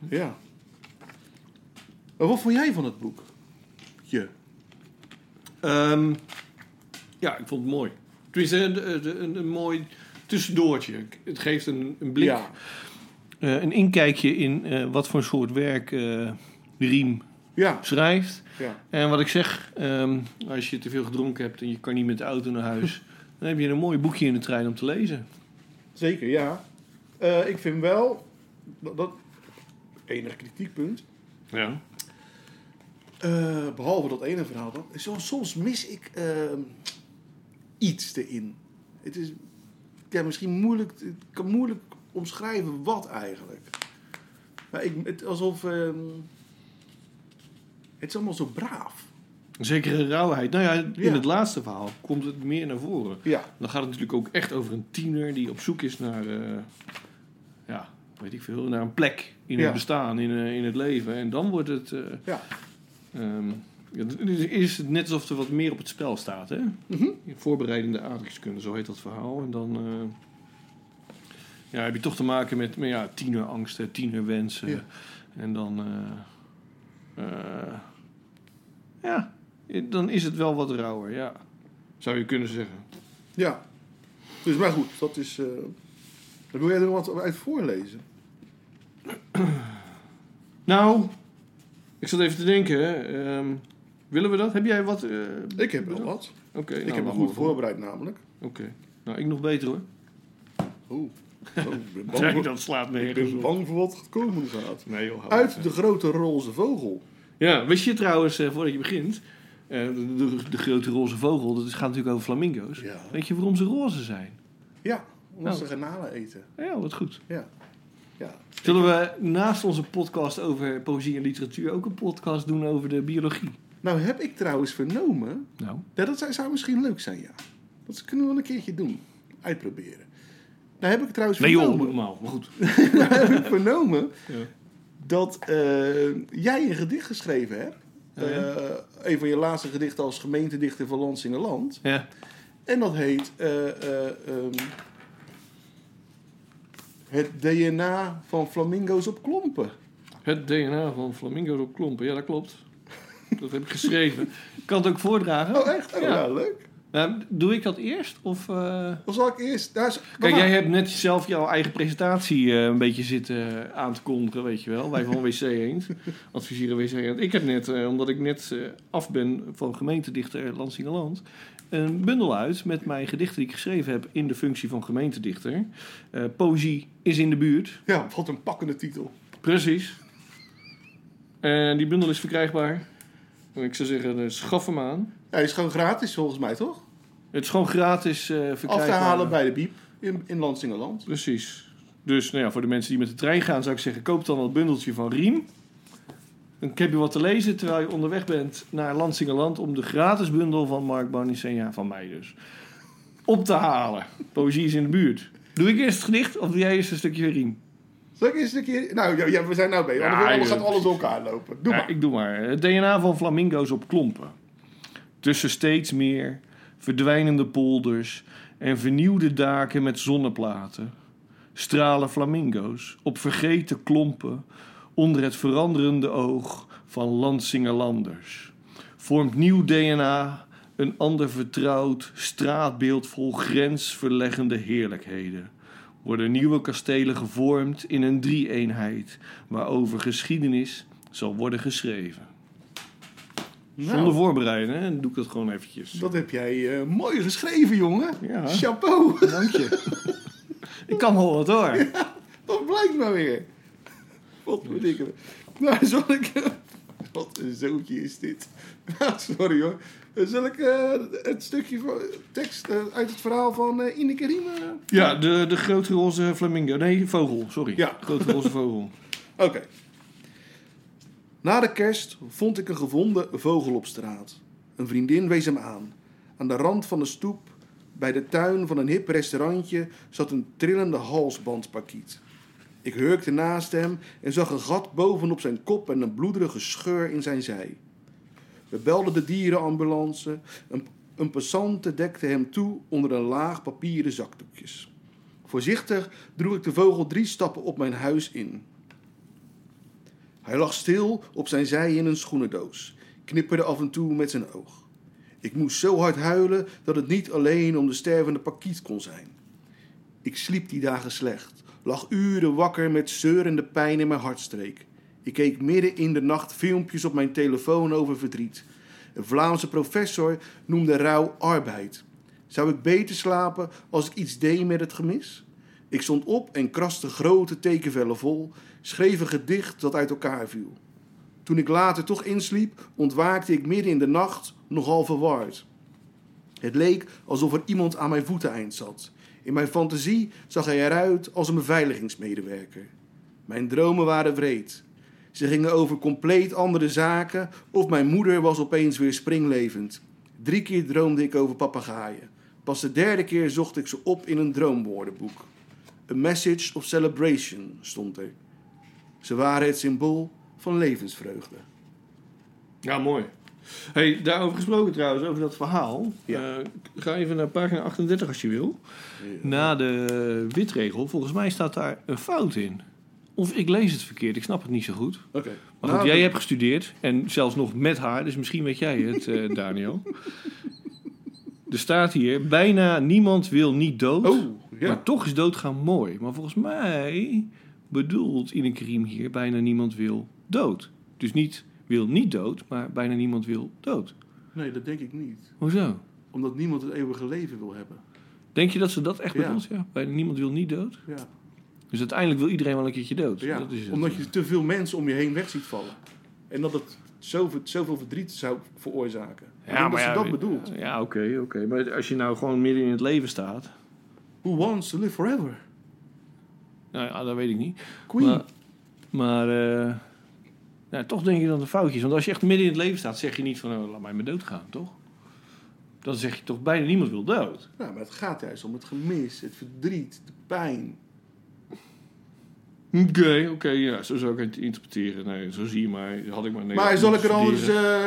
Ja. Maar wat vond jij van het boek? Je.
Ehm, ja, ik vond het mooi. Tenminste, een, een, een, een mooi tussendoortje. Het geeft een, een blik,
Ja.
eh, een inkijkje in eh, wat voor soort werk eh, Riem
Ja.
schrijft.
Ja.
En wat ik zeg, ehm, als je te veel gedronken hebt en je kan niet met de auto naar huis... dan heb je een mooi boekje in de trein om te lezen.
Zeker, ja. Eh, ik vind wel... Dat, dat enig kritiekpunt.
Ja.
eh, behalve dat ene verhaal dan. zo- Soms mis ik eh, iets erin. Het is ja, misschien moeilijk... Ik kan moeilijk omschrijven wat eigenlijk. Maar ik, het, alsof... ehm, het is allemaal zo braaf.
Een zekere rauwheid. Nou ja, in
Ja.
het laatste verhaal komt het meer naar voren.
Ja.
Dan gaat het natuurlijk ook echt over een tiener die op zoek is naar, eh, ja, weet ik veel, naar een plek in
Ja.
het bestaan, in, eh, in het leven. En dan wordt het, eh,
Ja.
ehm, ja, d- d- is het net alsof er wat meer op het spel staat, hè?
Mhm.
Voorbereidende aardrijkskunde, zo heet dat verhaal. En dan eh, ja, heb je toch te maken met, met ja, tienerangsten, tienerwensen.
Ja.
En dan, eh, eh, ja, dan is het wel wat rauwer, ja. Zou je kunnen zeggen.
Ja. Dus, maar goed, dat is... eh wil jij er nog wat uit voorlezen?
Nou, ik zat even te denken. ehm, willen we dat? Heb jij wat? eh,
Ik heb wel
bedacht?
wat.
Oké, nou,
ik heb me
laat
goed
maar.
voorbereid namelijk.
Oké, nou ik nog beter hoor.
Oeh. Oh, ik ben bang, voor,
dat Nou, slaat
ik ben bang voor wat komen gaat.
Nee joh. hou op.
Uit de grote roze vogel.
Ja, wist je trouwens, eh, voordat je begint, eh, de, de- de grote roze vogel, dat is- gaat natuurlijk over flamingo's.
Ja.
Weet je waarom ze roze zijn?
Ja, omdat ze
Nou.
granalen eten.
Ja, wat goed.
Ja. Ja.
Zullen we naast onze podcast over poëzie en literatuur ook een podcast doen over de biologie?
Nou heb ik trouwens vernomen...
Nou,
Ja, dat zou- zou misschien leuk zijn, ja. Dat kunnen we wel een keertje doen. Uitproberen. Nou heb ik trouwens
nee joh,
vernomen...
normaal. Maar goed.
heb ik vernomen
Ja.
dat eh, jij een gedicht geschreven hebt.
Oh ja?
Eh, een van je laatste gedichten als gemeentedichter van Lansingerland.
Ja.
En dat heet eh, eh, ehm, Het DNA van flamingo's op klompen.
Het DNA van flamingo's op klompen. Ja, dat klopt. Dat heb ik geschreven. Ik kan het ook voordragen.
Oh, echt? Oh, ja.
Ja.
leuk.
Nou, doe ik dat eerst? Of, eh,
Of zal ik eerst... Daar is,
Kijk, jij hebt net zelf jouw eigen presentatie eh, een beetje zitten eh, aan te kondigen, weet je wel. Wij van WC eens adviseren WC eens. Ik heb net, eh, omdat ik net eh, af ben van gemeentedichter Lansingerland, een bundel uit met mijn gedichten die ik geschreven heb in de functie van gemeentedichter. Eh, Poëzie is in de buurt.
Ja, wat een pakkende titel.
Precies. En die bundel is verkrijgbaar. Ik zou zeggen, eh, schaf hem aan.
Ja, die is gewoon gratis volgens mij, toch?
Het is gewoon gratis eh verkrijgbaar.
Af te halen bij de Biep in, in Lansingerland.
Precies. Dus nou ja, voor de mensen die met de trein gaan, zou ik zeggen: koop dan dat bundeltje van Riem. Dan heb je wat te lezen terwijl je onderweg bent naar Landsingeland om de gratis bundel van Mark Barnicea, van mij dus, op te halen. Poëzie is in de buurt. Doe ik eerst het gedicht of doe jij eerst een stukje Riem?
Zal ik eerst een keer... Nou, ja, ja, we zijn nou bezig.
Ja,
want dan
joh.
gaat alles door elkaar lopen. Doe
Ja,
maar.
Ik doe maar. Het DNA van flamingo's op klompen. Tussen steeds meer verdwijnende polders en vernieuwde daken met zonneplaten. Stralen flamingo's op vergeten klompen onder het veranderende oog van Landsingerlanders. Vormt nieuw DNA een ander vertrouwd straatbeeld vol grensverleggende heerlijkheden worden nieuwe kastelen gevormd in een drie-eenheid waarover geschiedenis zal worden geschreven. Zonder
Nou,
voorbereiden, hè? doe ik dat gewoon eventjes.
dat heb jij eh, mooi geschreven, jongen.
Ja.
Chapeau.
Dank je. ik kan wel wat hoor.
Dat blijkt maar weer. Wat verdikken. Nou, zal ik... Wat een zootje is dit. Nou, sorry hoor. Zal ik eh, het stukje van, tekst eh, uit het verhaal van eh Ineke Riem... eh?
Ja, de, de grote roze flamingo. Nee, vogel, sorry.
Ja.
Grote roze vogel.
Oké. Na de kerst vond ik een gevonden vogel op straat. Een vriendin wees hem aan. Aan de rand van de stoep, bij de tuin van een hip restaurantje, zat een trillende halsbandpakiet. Ik hurkte naast hem en zag een gat bovenop zijn kop en een bloederige scheur in zijn zij. We belden de dierenambulance. Een, een passante dekte hem toe onder een laag papieren zakdoekjes. Voorzichtig droeg ik de vogel drie stappen op mijn huis in. Hij lag stil op zijn zij in een schoenendoos, knipperde af en toe met zijn oog. Ik moest zo hard huilen dat het niet alleen om de stervende pakiet kon zijn. Ik sliep die dagen slecht, lag uren wakker met zeurende pijn in mijn hartstreek. Ik keek midden in de nacht filmpjes op mijn telefoon over verdriet. Een Vlaamse professor noemde rouw arbeid. Zou ik beter slapen als ik iets deed met het gemis? Ik stond op en kraste grote tekenvellen vol, schreef een gedicht dat uit elkaar viel. Toen ik later toch insliep, ontwaakte ik midden in de nacht nogal verward. Het leek alsof er iemand aan mijn voeteneind zat. In mijn fantasie zag hij eruit als een beveiligingsmedewerker. Mijn dromen waren wreed. Ze gingen over compleet andere zaken of mijn moeder was opeens weer springlevend. Drie keer droomde ik over papegaaien. Pas de derde keer zocht ik ze op in een droomwoordenboek. A message of celebration stond er. Ze waren het symbool van levensvreugde.
Ja, mooi. hey, daarover gesproken trouwens, over dat verhaal.
Ja.
Eh, ga even naar pagina 38 als je wil. Na de witregel, volgens mij staat daar een fout in. Of ik lees het verkeerd, ik snap het niet zo goed.
Oké.
Maar
Nou,
goed, jij hebt gestudeerd en zelfs nog met haar, dus misschien weet jij het, eh, Daniel. Er staat hier: bijna niemand wil niet dood,
Oh, ja.
maar toch is doodgaan mooi. Maar volgens mij bedoelt in een kriem hier: bijna niemand wil dood. Dus niet wil niet dood, maar bijna niemand wil dood.
Nee, dat denk ik niet.
Hoezo?
Omdat niemand het eeuwige leven wil hebben.
Denk je dat ze dat echt
Ja.
bedoelt? Ja, bijna niemand wil niet dood.
Ja.
Dus uiteindelijk wil iedereen wel een keertje dood.
ja.
Dat is het.
Omdat je te veel mensen om je heen weg ziet vallen. En dat het zoveel, zoveel verdriet zou veroorzaken. Ja, ik denk dat ze dat bedoelt.
Ja, oké, oké. Maar als je nou gewoon midden in het leven staat.
Who wants to live forever?
Nou ja, dat weet ik niet.
Queen.
Maar, maar eh, nou, toch denk ik dat het een foutje is. Want als je echt midden in het leven staat, zeg je niet van oh, laat mij maar doodgaan, toch? Dan zeg je toch bijna niemand wil dood.
Nou, maar het gaat juist om het gemis, het verdriet, de pijn.
Oké, oké, ja, zo zou ik het interpreteren. Nee, zo zie je maar, had ik maar nee.
maar zal ik er anders eh,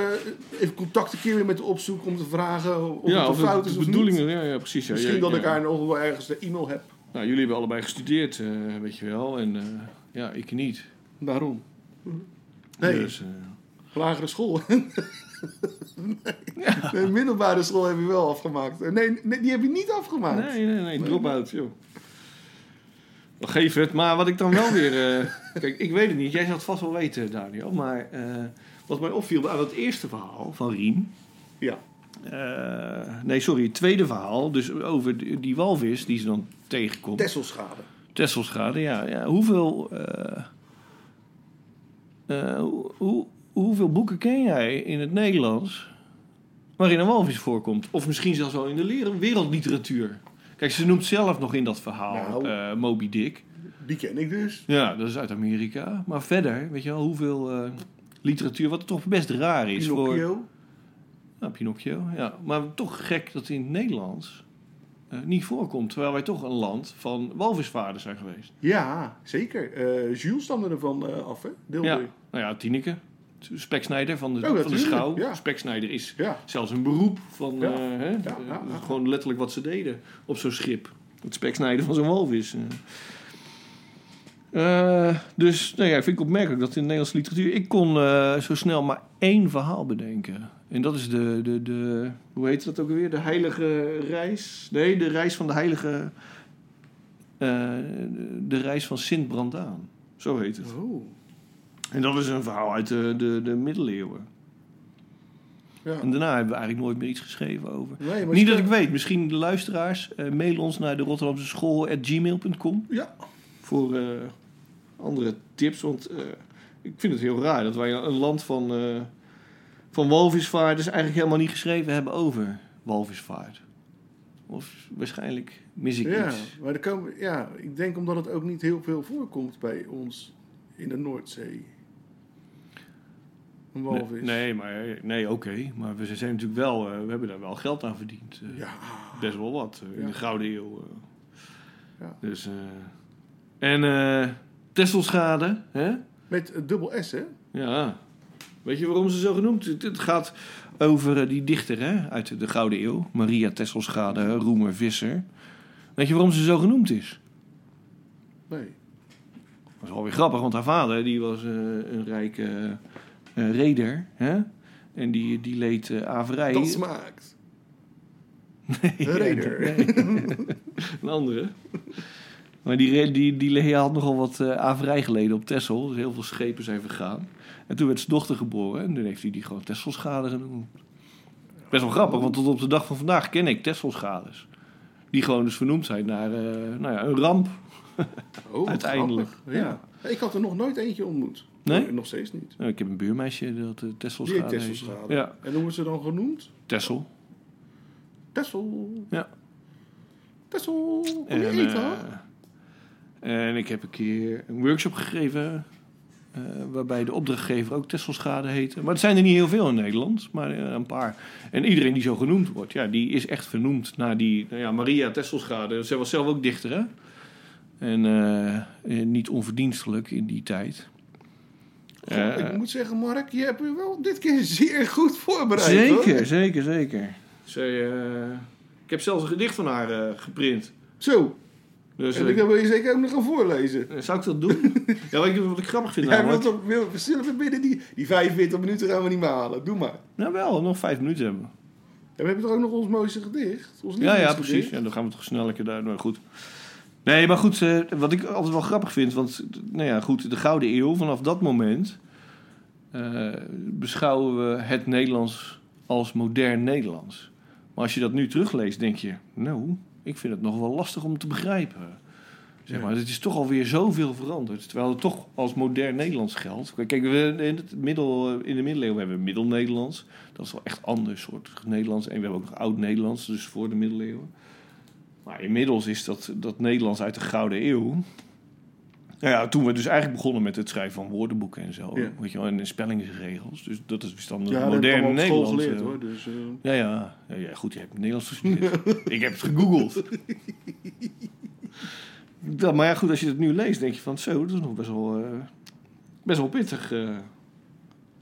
even contact een keer weer met opzoeken om te vragen eh, of
ja,
het
of
een fout is
de
of
bedoeling,
niet?
Ja, ja, precies. Ja,
Misschien
ja,
dat
ja.
ik haar nog wel ergens de e-mail heb.
Nou, jullie hebben allebei gestudeerd, eh, weet je wel. En eh, ja, ik niet.
Daarom. Nee,
Dus, eh,
lagere school. Nee, middelbare school heb je wel afgemaakt. Nee, nee, die heb je niet afgemaakt.
Nee, nee, nee, drop-out, joh. Wel, Geef het, maar wat ik dan wel weer... eh, kijk, ik weet het niet, jij zou het vast wel weten, Daniel. Maar eh, wat mij opviel aan het eerste verhaal van Rien...
Ja.
eh, nee, sorry, het tweede verhaal. Dus over die, die walvis die ze dan tegenkomt.
Tesselschade.
Tesselschade, ja. ja. Hoeveel, eh, eh, hoe, hoe- hoeveel boeken ken jij in het Nederlands waarin een walvis voorkomt? Of misschien zelfs wel in de leren- wereldliteratuur. Kijk, ze noemt zelf nog in dat verhaal
Nou.
eh, Moby Dick.
Die ken ik dus.
Ja, dat is uit Amerika. Maar verder, weet je wel, hoeveel eh, literatuur, wat toch best raar is voor...
Pinocchio.
Nou, Pinocchio, ja. Maar toch gek dat in het Nederlands eh, niet voorkomt. Terwijl wij toch een land van walvisvaarders zijn geweest.
Ja, zeker. Eh Jules stamde ervan eh, af, hè? Deel
Ja,
drie.
nou ja, Tineke. Speksnijder van de,
Oh,
van de
natuurlijk,
schouw.
ja.
Speksnijder is
Ja.
zelfs een beroep van...
Ja,
eh, hè,
ja,
eh,
ja, ja.
Gewoon letterlijk wat ze deden op zo'n schip. Het speksnijden van zo'n walvis. eh. Eh, dus nou ja, vind ik opmerkelijk dat in de Nederlandse literatuur... Ik kon eh, zo snel maar één verhaal bedenken. En dat is de, de, de... Hoe heet dat ook alweer? De heilige reis? Nee, de reis van de heilige... eh, de reis van Sint Brandaan. Zo heet het.
Oh.
En dat is een verhaal uit de, de, de middeleeuwen.
Ja.
En daarna hebben we eigenlijk nooit meer iets geschreven over.
Nee, maar
Niet
ze-
dat ik weet, misschien de luisteraars. eh, mail ons naar de Rotterdamse school gmail.com
Ja.
voor eh, andere tips. Want eh, ik vind het heel raar dat wij een land van, eh van walvisvaarders eigenlijk helemaal niet geschreven hebben over walvisvaart. Of waarschijnlijk mis ik
Ja,
iets.
maar er komen, ja, ik denk omdat het ook niet heel veel voorkomt bij ons in de Noordzee. Een walvis.
Nee, nee, maar, nee oké. Maar we zijn natuurlijk wel, eh, we hebben daar wel geld aan verdiend. eh.
Ja,
best wel wat eh,
Ja.
in de Gouden Eeuw. eh.
Ja.
Dus, eh, en eh Tesselschade, hè?
met een dubbel S, hè?
Ja. Weet je waarom ze zo genoemd? Het, het gaat over eh, die dichter hè? uit de Gouden Eeuw, Maria Tesselschade, Roemer Visser. Weet je waarom ze zo genoemd is?
Nee.
Dat is wel weer grappig, want haar vader die was eh, een rijke eh, eh, reder. Hè? En die, die leed eh, averij.
Dat smaakt.
Ja,
Reder.
nee. een andere. Maar die, re- die, die Lea had nogal wat eh averij geleden op Texel. Dus heel veel schepen zijn vergaan. En toen werd zijn dochter geboren. En toen heeft hij die gewoon Tesselschade genoemd. Best wel grappig, want tot op de dag van vandaag ken ik Tesselschades. Die gewoon dus vernoemd zijn naar eh, nou ja, een ramp.
Oh, wat
Uiteindelijk,
grappig. Ja. Ik had er nog nooit eentje ontmoet.
Nee?
Nog steeds niet.
Nou, ik heb een buurmeisje dat eh
Die heet
Tesselschade
Tesselschade.
Ja,
En hoe wordt ze dan genoemd?
Tessel.
Tessel.
Ja.
Tessel. Kom je
En,
eten?
eh, en ik heb een keer een workshop gegeven. eh, waarbij de opdrachtgever ook Tesselschade heette. Maar het zijn er niet heel veel in Nederland, maar eh, een paar. En iedereen die zo genoemd wordt, ja, die is echt vernoemd naar die nou ja, Maria Tesselschade. Zij was zelf ook dichter, hè? En eh, eh, niet onverdienstelijk in die tijd.
Goh,
Eh,
ik moet zeggen, Mark, je hebt je wel dit keer zeer goed voorbereid.
zeker,
hoor.
zeker, zeker. Zij, eh, ik heb zelfs een gedicht van haar eh, geprint.
Zo,
Dus,
en
eh,
ik wil je zeker ook nog gaan voorlezen.
zou ik dat doen? ja, wat ik, wat ik grappig vind
Jij
namelijk-
wilt toch wil, zullen we binnen die, die 45 minuten gaan we niet meer halen. Doe maar.
Nou wel, nog vijf minuten hebben we.
En we hebben toch ook nog ons mooiste gedicht? Ons
Ja, ja,
lievelingsgedicht?
precies. Ja, dan gaan we toch snel lekker daar. Maar goed. Nee, maar goed, eh, wat ik altijd wel grappig vind... want nou ja, goed, de Gouden Eeuw, vanaf dat moment... eh, beschouwen we het Nederlands als modern Nederlands. Maar als je dat nu terugleest, denk je... nou, ik vind het nog wel lastig om te begrijpen. Zeg maar, het is toch alweer zoveel veranderd. Terwijl het toch als modern Nederlands geldt. Kijk, we, in, het middel, eh, in de middeleeuwen hebben we middel-Nederlands. Dat is wel echt ander soort Nederlands. En we hebben ook nog oud-Nederlands, dus voor de middeleeuwen. Maar inmiddels is dat, dat Nederlands uit de Gouden Eeuw. Nou ja, toen we dus eigenlijk begonnen met het schrijven van woordenboeken en zo.
Ja.
Weet je wel, en spellingsregels. Dus dat is dus dan het
Ja, dat heb ik
moderne
allemaal op school
Nederlands.
geleerd
eh.
hoor. Dus, eh,
Ja, ja, ja, ja, goed, je hebt Nederlands gestudeerd. ik heb het gegoogeld. dat, maar ja, goed, als je het nu leest, denk je van zo, dat is nog best wel, eh, best wel pittig. eh.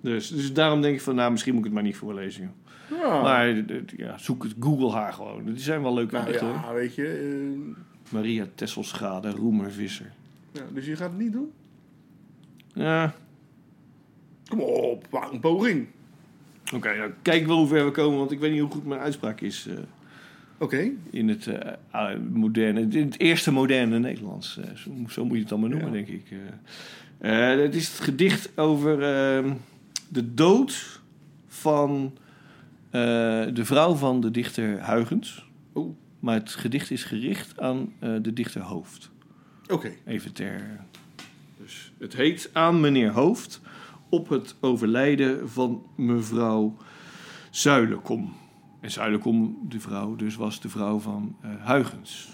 Dus, dus daarom denk ik van, nou, misschien moet ik het maar niet voorlezen. joh.
ja.
Maar eh, ja, zoek het, google haar gewoon. Die zijn wel leuke
nou
gedichten,
ja,
hoor.
weet je. eh,
Maria Tesselschade, Roemer Visser.
ja, dus je gaat het niet doen?
Ja,
Kom op, maak een poging.
oké. Oké, nou, kijk wel hoe ver we komen, want ik weet niet hoe goed mijn uitspraak is eh,
Oké,
in het eh, ah, moderne, in het eerste moderne Nederlands. Eh, zo, zo moet je het dan maar noemen, denk ik. Eh, eh, het is het gedicht over eh, de dood van eh, de vrouw van de dichter Huygens.
Oh.
Maar het gedicht is gericht aan eh, de dichter Hoofd.
oké.
Even ter. Dus het heet aan meneer Hoofd op het overlijden van mevrouw Zuilenkom. En Zuilenkom, de vrouw, dus was de vrouw van eh Huygens.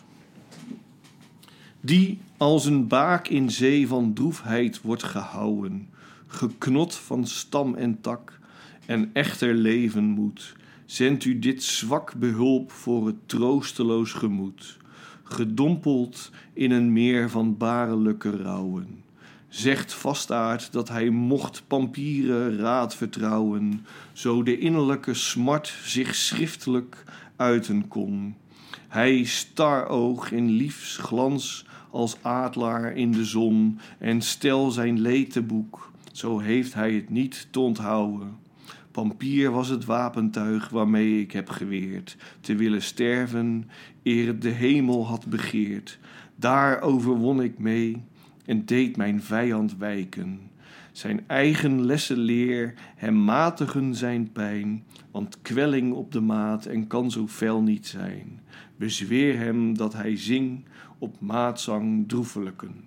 Die als een baak in zee van droefheid wordt gehouwen, geknot van stam en tak, en echter leven moet, zendt u dit zwak behulp voor het troosteloos gemoed gedompeld in een meer van barelijke rouwen. Zegt vastaard dat hij mocht pampieren raad vertrouwen, zo de innerlijke smart zich schriftelijk uiten kon. Hij staroog in liefs glans als adelaar in de zon en stel zijn leed te boek, zo heeft hij het niet te onthouden. Pampier was het wapentuig waarmee ik heb geweerd te willen sterven eer het de hemel had begeerd. Daar overwon ik mee en deed mijn vijand wijken. Zijn eigen lessen leer, hem matigen zijn pijn, want kwelling op de maat en kan zo fel niet zijn. Bezweer hem dat hij zing op maatzang droevelijken.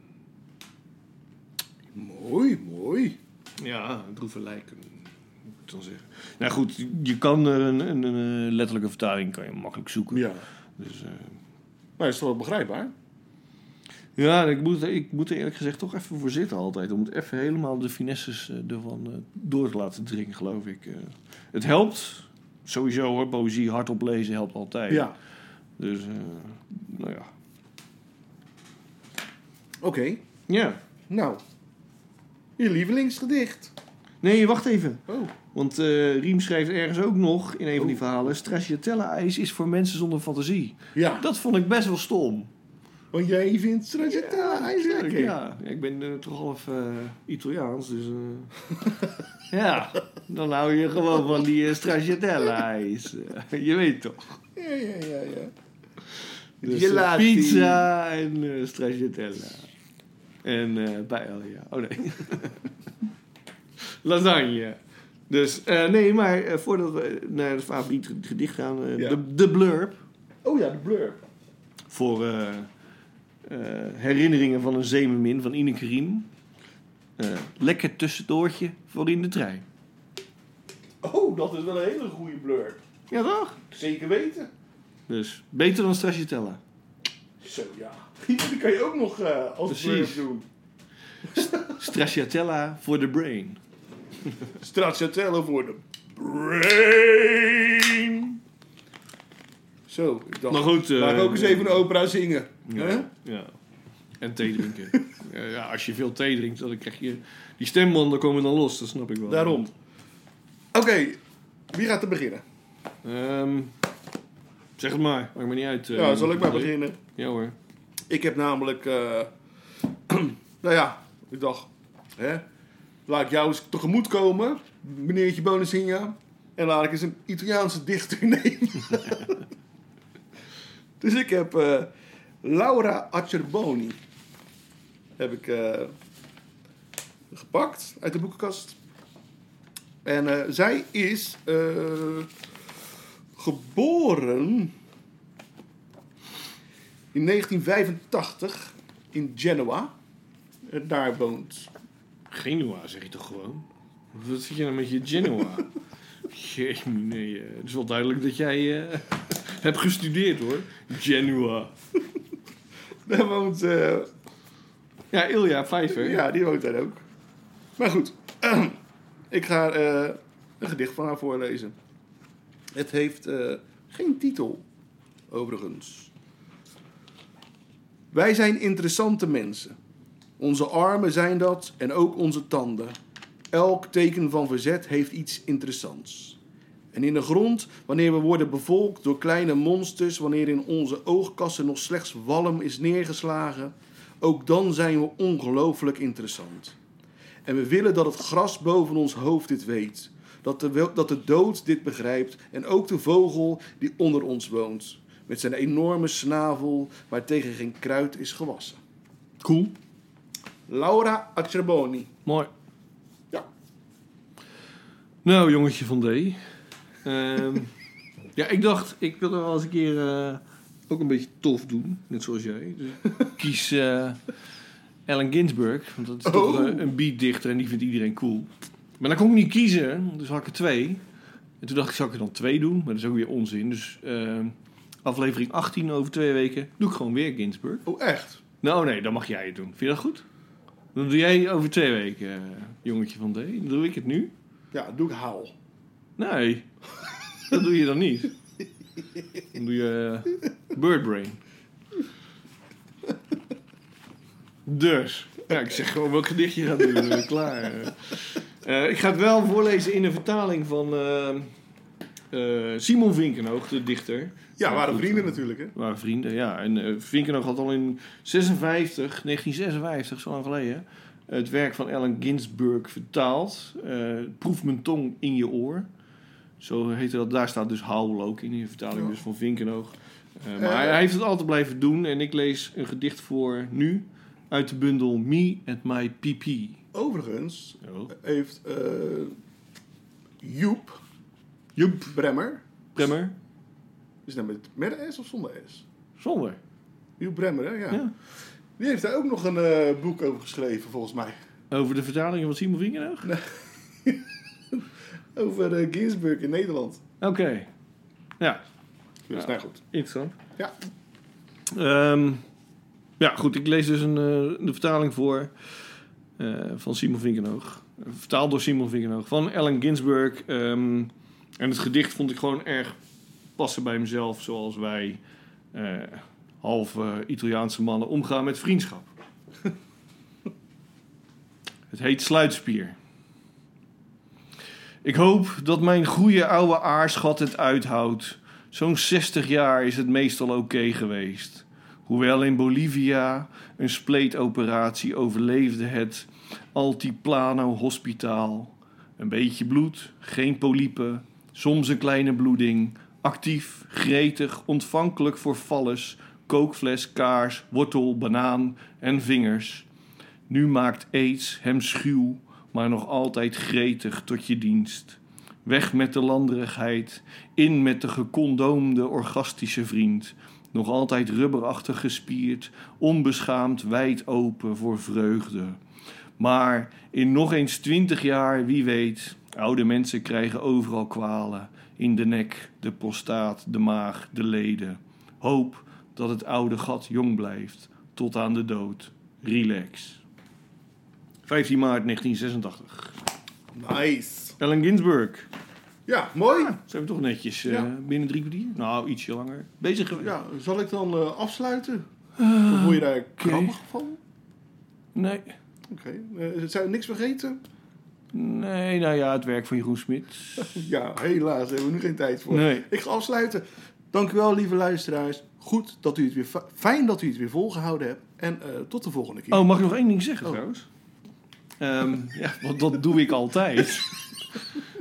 Mooi, mooi.
Ja, droevelijken, moet ik dan zeggen. Nou goed, je kan er een, een, een, eh, letterlijke vertaling kan je makkelijk zoeken.
Ja.
Dus, eh,
Maar is toch wel begrijpbaar?
Ja, ik moet, ik moet er eerlijk gezegd toch even voor zitten altijd. Om het even helemaal de finesses eh, ervan eh, door te laten dringen, geloof ik. eh. het helpt. Sowieso hoor, poëzie hardop lezen helpt altijd.
Ja.
Dus, eh, nou ja.
Oké,
Ja.
nou. Je lievelingsgedicht.
Nee, wacht even.
Oh.
Want eh, Riem schrijft ergens ook nog in een van die
Oh.
verhalen... Stracciatella-ijs is voor mensen zonder fantasie.
Ja,
Dat vond ik best wel stom.
want jij vindt Stracciatella ijs lekker.
Ja, ik ben eh, toch half eh, Italiaans, dus... eh, ja, dan hou je gewoon van die eh, stracciatella-ijs. Eh, je weet toch.
ja, ja, ja. ja.
Dus, eh,
Gelati.
pizza en eh stracciatella. En eh bij ja. Oh nee. Lasagne. Dus eh, nee, maar eh, voordat we naar het favoriete gedicht gaan, eh,
Ja.
de, de blurb.
Oh ja, de blur.
voor eh, eh, herinneringen van een zeemermin van Ineke Riem. Eh, lekker tussendoortje voor in de trein.
Oh, dat is wel een hele goede blur.
Ja, toch?
Zeker weten.
Dus beter dan Stracciatella.
Zo ja. Die kan je ook nog eh, als
Precies.
blur doen.
Stracciatella voor the brain.
Stracciatella voor de brain. Zo, ik dacht,
Maar goed, eh,
laat ik ook eens even een opera zingen.
Ja.
Hè?
ja. En thee drinken. Eh, ja, als je veel thee drinkt, dan krijg je... Die stembanden komen dan los, dat snap ik wel.
Daarom. Oké, wie gaat er
Eh,
beginnen?
Ehm, zeg het maar, maakt me niet uit. eh,
ja, Nou, zal ik maar beginnen?
Ja hoor.
Ik heb namelijk, eh, nou ja, ik dacht, hè, laat ik jou eens tegemoet komen, meneertje Bonacinha, en laat ik eens een Italiaanse dichter nemen. dus ik heb eh, Laura Acerboni heb ik eh, gepakt uit de boekenkast. En eh, zij is eh, geboren in 1985 in Genoa. En daar woont.
Genua zeg je toch gewoon? Wat zit je nou met je Genoa? Jee, nee, eh, het is wel duidelijk dat jij eh, hebt gestudeerd hoor. Genoa.
Daar woont. eh,
Ja, Ilja Pfeiffer.
ja, die woont daar ook. Maar goed, ik ga eh, een gedicht van haar voorlezen. Het heeft eh, geen titel, overigens. Wij zijn interessante mensen. Onze armen zijn dat en ook onze tanden. Elk teken van verzet heeft iets interessants. En in de grond, wanneer we worden bevolkt door kleine monsters, wanneer in onze oogkassen nog slechts walm is neergeslagen, ook dan zijn we ongelooflijk interessant. En we willen dat het gras boven ons hoofd dit weet. dat de, wel- dat de dood dit begrijpt en ook de vogel die onder ons woont. Met zijn enorme snavel waartegen geen kruid is gewassen.
Cool.
Laura Acerboni.
Mooi.
Ja.
Nou, jongetje van D. Ehm, ja, ik dacht, ik wil er wel eens een keer eh, ook een beetje tof doen. Net zoals jij. Dus ik kies eh Allen Ginsberg. Want dat is toch
Oh.
eh, een beatdichter en die vindt iedereen cool. Maar dan kon ik niet kiezen, dus had ik er twee. En toen dacht ik, zou ik er dan twee doen? Maar dat is ook weer onzin. Dus ehm, aflevering 18 over twee weken doe ik gewoon weer Ginsberg.
Oh, echt?
Nou nee, dan mag jij het doen. Vind je dat goed? Dan doe jij over twee weken, eh, jongetje van D. Dan doe ik het nu.
Ja, doe ik haal.
Nee, dat doe je dan niet. Dan doe je eh, birdbrain. Dus, ja, ik zeg gewoon welk gedichtje je gaat doen. eh, Klaar. Eh, ik ga het wel voorlezen in een vertaling van eh, eh, Simon Vinkenhoog, de dichter.
Ja, waren
goed,
vrienden
eh,
natuurlijk, hè?
waren vrienden, ja. En eh Vinkenhoog had al in 56, 1956, zo lang geleden, het werk van Allen Ginsberg vertaald. Eh, Proef mijn tong in je oor. Zo heette dat. Daar staat dus Howl ook in, in de vertaling
Ja.
dus van Vinkenhoog. Eh, maar
Eh,
hij, hij heeft het altijd blijven doen. En ik lees een gedicht voor nu uit de bundel Me and My PP.
Overigens
Oh.
heeft eh, Joep,
Joep
Bremmer,
Bremmer,
is dat met, met een S of zonder S?
zonder.
Joep Bremmer, hè? Ja.
Ja.
Die heeft daar ook nog een eh, boek over geschreven, volgens mij.
Over de vertalingen van Simon Vinkenhoog?
Over eh, Ginsburg in Nederland.
Oké. Ja,
Dus, nou goed.
interessant.
Ja.
Ehm, ja, goed. Ik lees dus een, eh, de vertaling voor eh, van Simon Vinkenhoog. Vertaald door Simon Vinkenhoog. Van Allen Ginsberg. Ehm, en het gedicht vond ik gewoon erg passen bij mezelf. Zoals wij eh half eh, Italiaanse mannen omgaan met vriendschap. het heet Sluitspier. Ik hoop dat mijn goede oude aarschat het uithoudt. Zo'n 60 jaar is het meestal oké geweest. Hoewel in Bolivia een spleetoperatie overleefde het Altiplano Hospitaal. Een beetje bloed, geen polypen, soms een kleine bloeding. Actief, gretig, ontvankelijk voor valles, kookfles, kaars, wortel, banaan en vingers. Nu maakt aids hem schuw, maar nog altijd gretig tot je dienst. Weg met de landerigheid, in met de gecondoomde orgastische vriend. Nog altijd rubberachtig gespierd, onbeschaamd wijd open voor vreugde. Maar in nog eens twintig jaar, wie weet, oude mensen krijgen overal kwalen. In de nek, de prostaat, de maag, de leden. Hoop dat het oude gat jong blijft, tot aan de dood. Relax. 15 maart 1986.
Nice.
Ellen Ginsberg.
Ja, mooi.
Zijn we toch netjes eh,
Ja.
binnen drie kwartier? Nou, ietsje langer. Bezig geweest.
Ja, zal ik dan eh, afsluiten? Eh, Of word je daar krabbig van?
Nee.
Oké. Eh, zijn we niks vergeten?
Nee, nou ja, het werk van Jeroen Smit.
Ja, helaas. Daar hebben we nu geen tijd voor.
Nee.
Ik ga afsluiten. Dank u wel, lieve luisteraars. Goed dat u het weer... fa- Fijn dat u het weer volgehouden hebt. En eh, tot de volgende keer.
Oh, mag ik nog één ding zeggen trouwens? Ehm, ja, want dat doe ik altijd.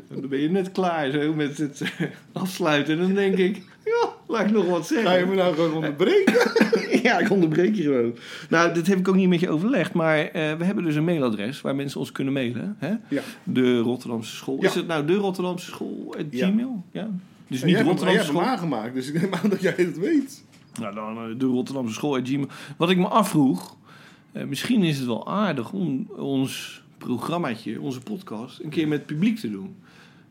dan ben je net klaar zo met het eh, afsluiten. En dan denk ik, ja, laat ik nog wat zeggen.
Ga je me nou gewoon onderbreken?
ja, ik onderbreek je gewoon. Nou, dit heb ik ook niet met je overlegd. Maar eh, we hebben dus een mailadres waar mensen ons kunnen mailen. Hè?
Ja.
De Rotterdamse School. Is
Ja.
het nou de Rotterdamse School? at
Ja.
Gmail? Ja. Dus
En
niet
jij
de
hebt, jij
Rotterdamse
hebt hem
School.
aangemaakt, dus ik neem aan dat jij het weet.
Nou, dan eh, de Rotterdamse School. at Gmail. Wat ik me afvroeg. eh, misschien is het wel aardig om ons programmaatje, onze podcast, een keer met publiek te doen.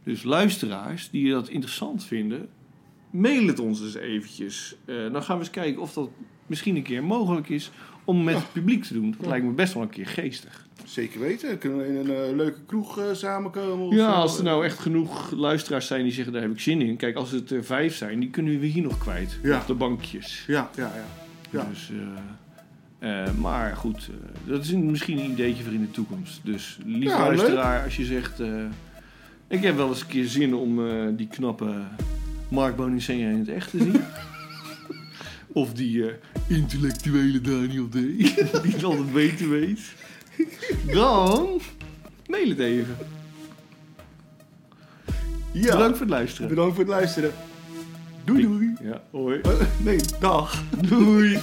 Dus luisteraars die dat interessant vinden, mail het ons eens eventjes. Eh, dan gaan we eens kijken of dat misschien een keer mogelijk is om met het publiek te doen. Dat lijkt me best wel een keer geestig.
Zeker weten. Kunnen we in een eh, leuke kroeg eh, samenkomen? of
Ja,
zo?
als er nou echt genoeg luisteraars zijn die zeggen daar heb ik zin in. Kijk, als het er vijf zijn, die kunnen we hier nog kwijt.
Ja.
Op de bankjes.
Ja, ja, ja. Ja.
Dus, eh, eh, maar goed, eh, dat is een- misschien een ideetje voor in de toekomst. Dus lieve
Ja,
luisteraar, als je zegt... eh, ik heb wel eens een keer zin om eh, die knappe Mark Bonincenja in het echt te zien. of die eh, intellectuele Daniel D. die het altijd beter weet. Dan mail het even. Ja.
Bedankt voor het luisteren.
Bedankt voor het luisteren. Doei doei.
Ja, hoi.
Eh, nee, dag. Doei.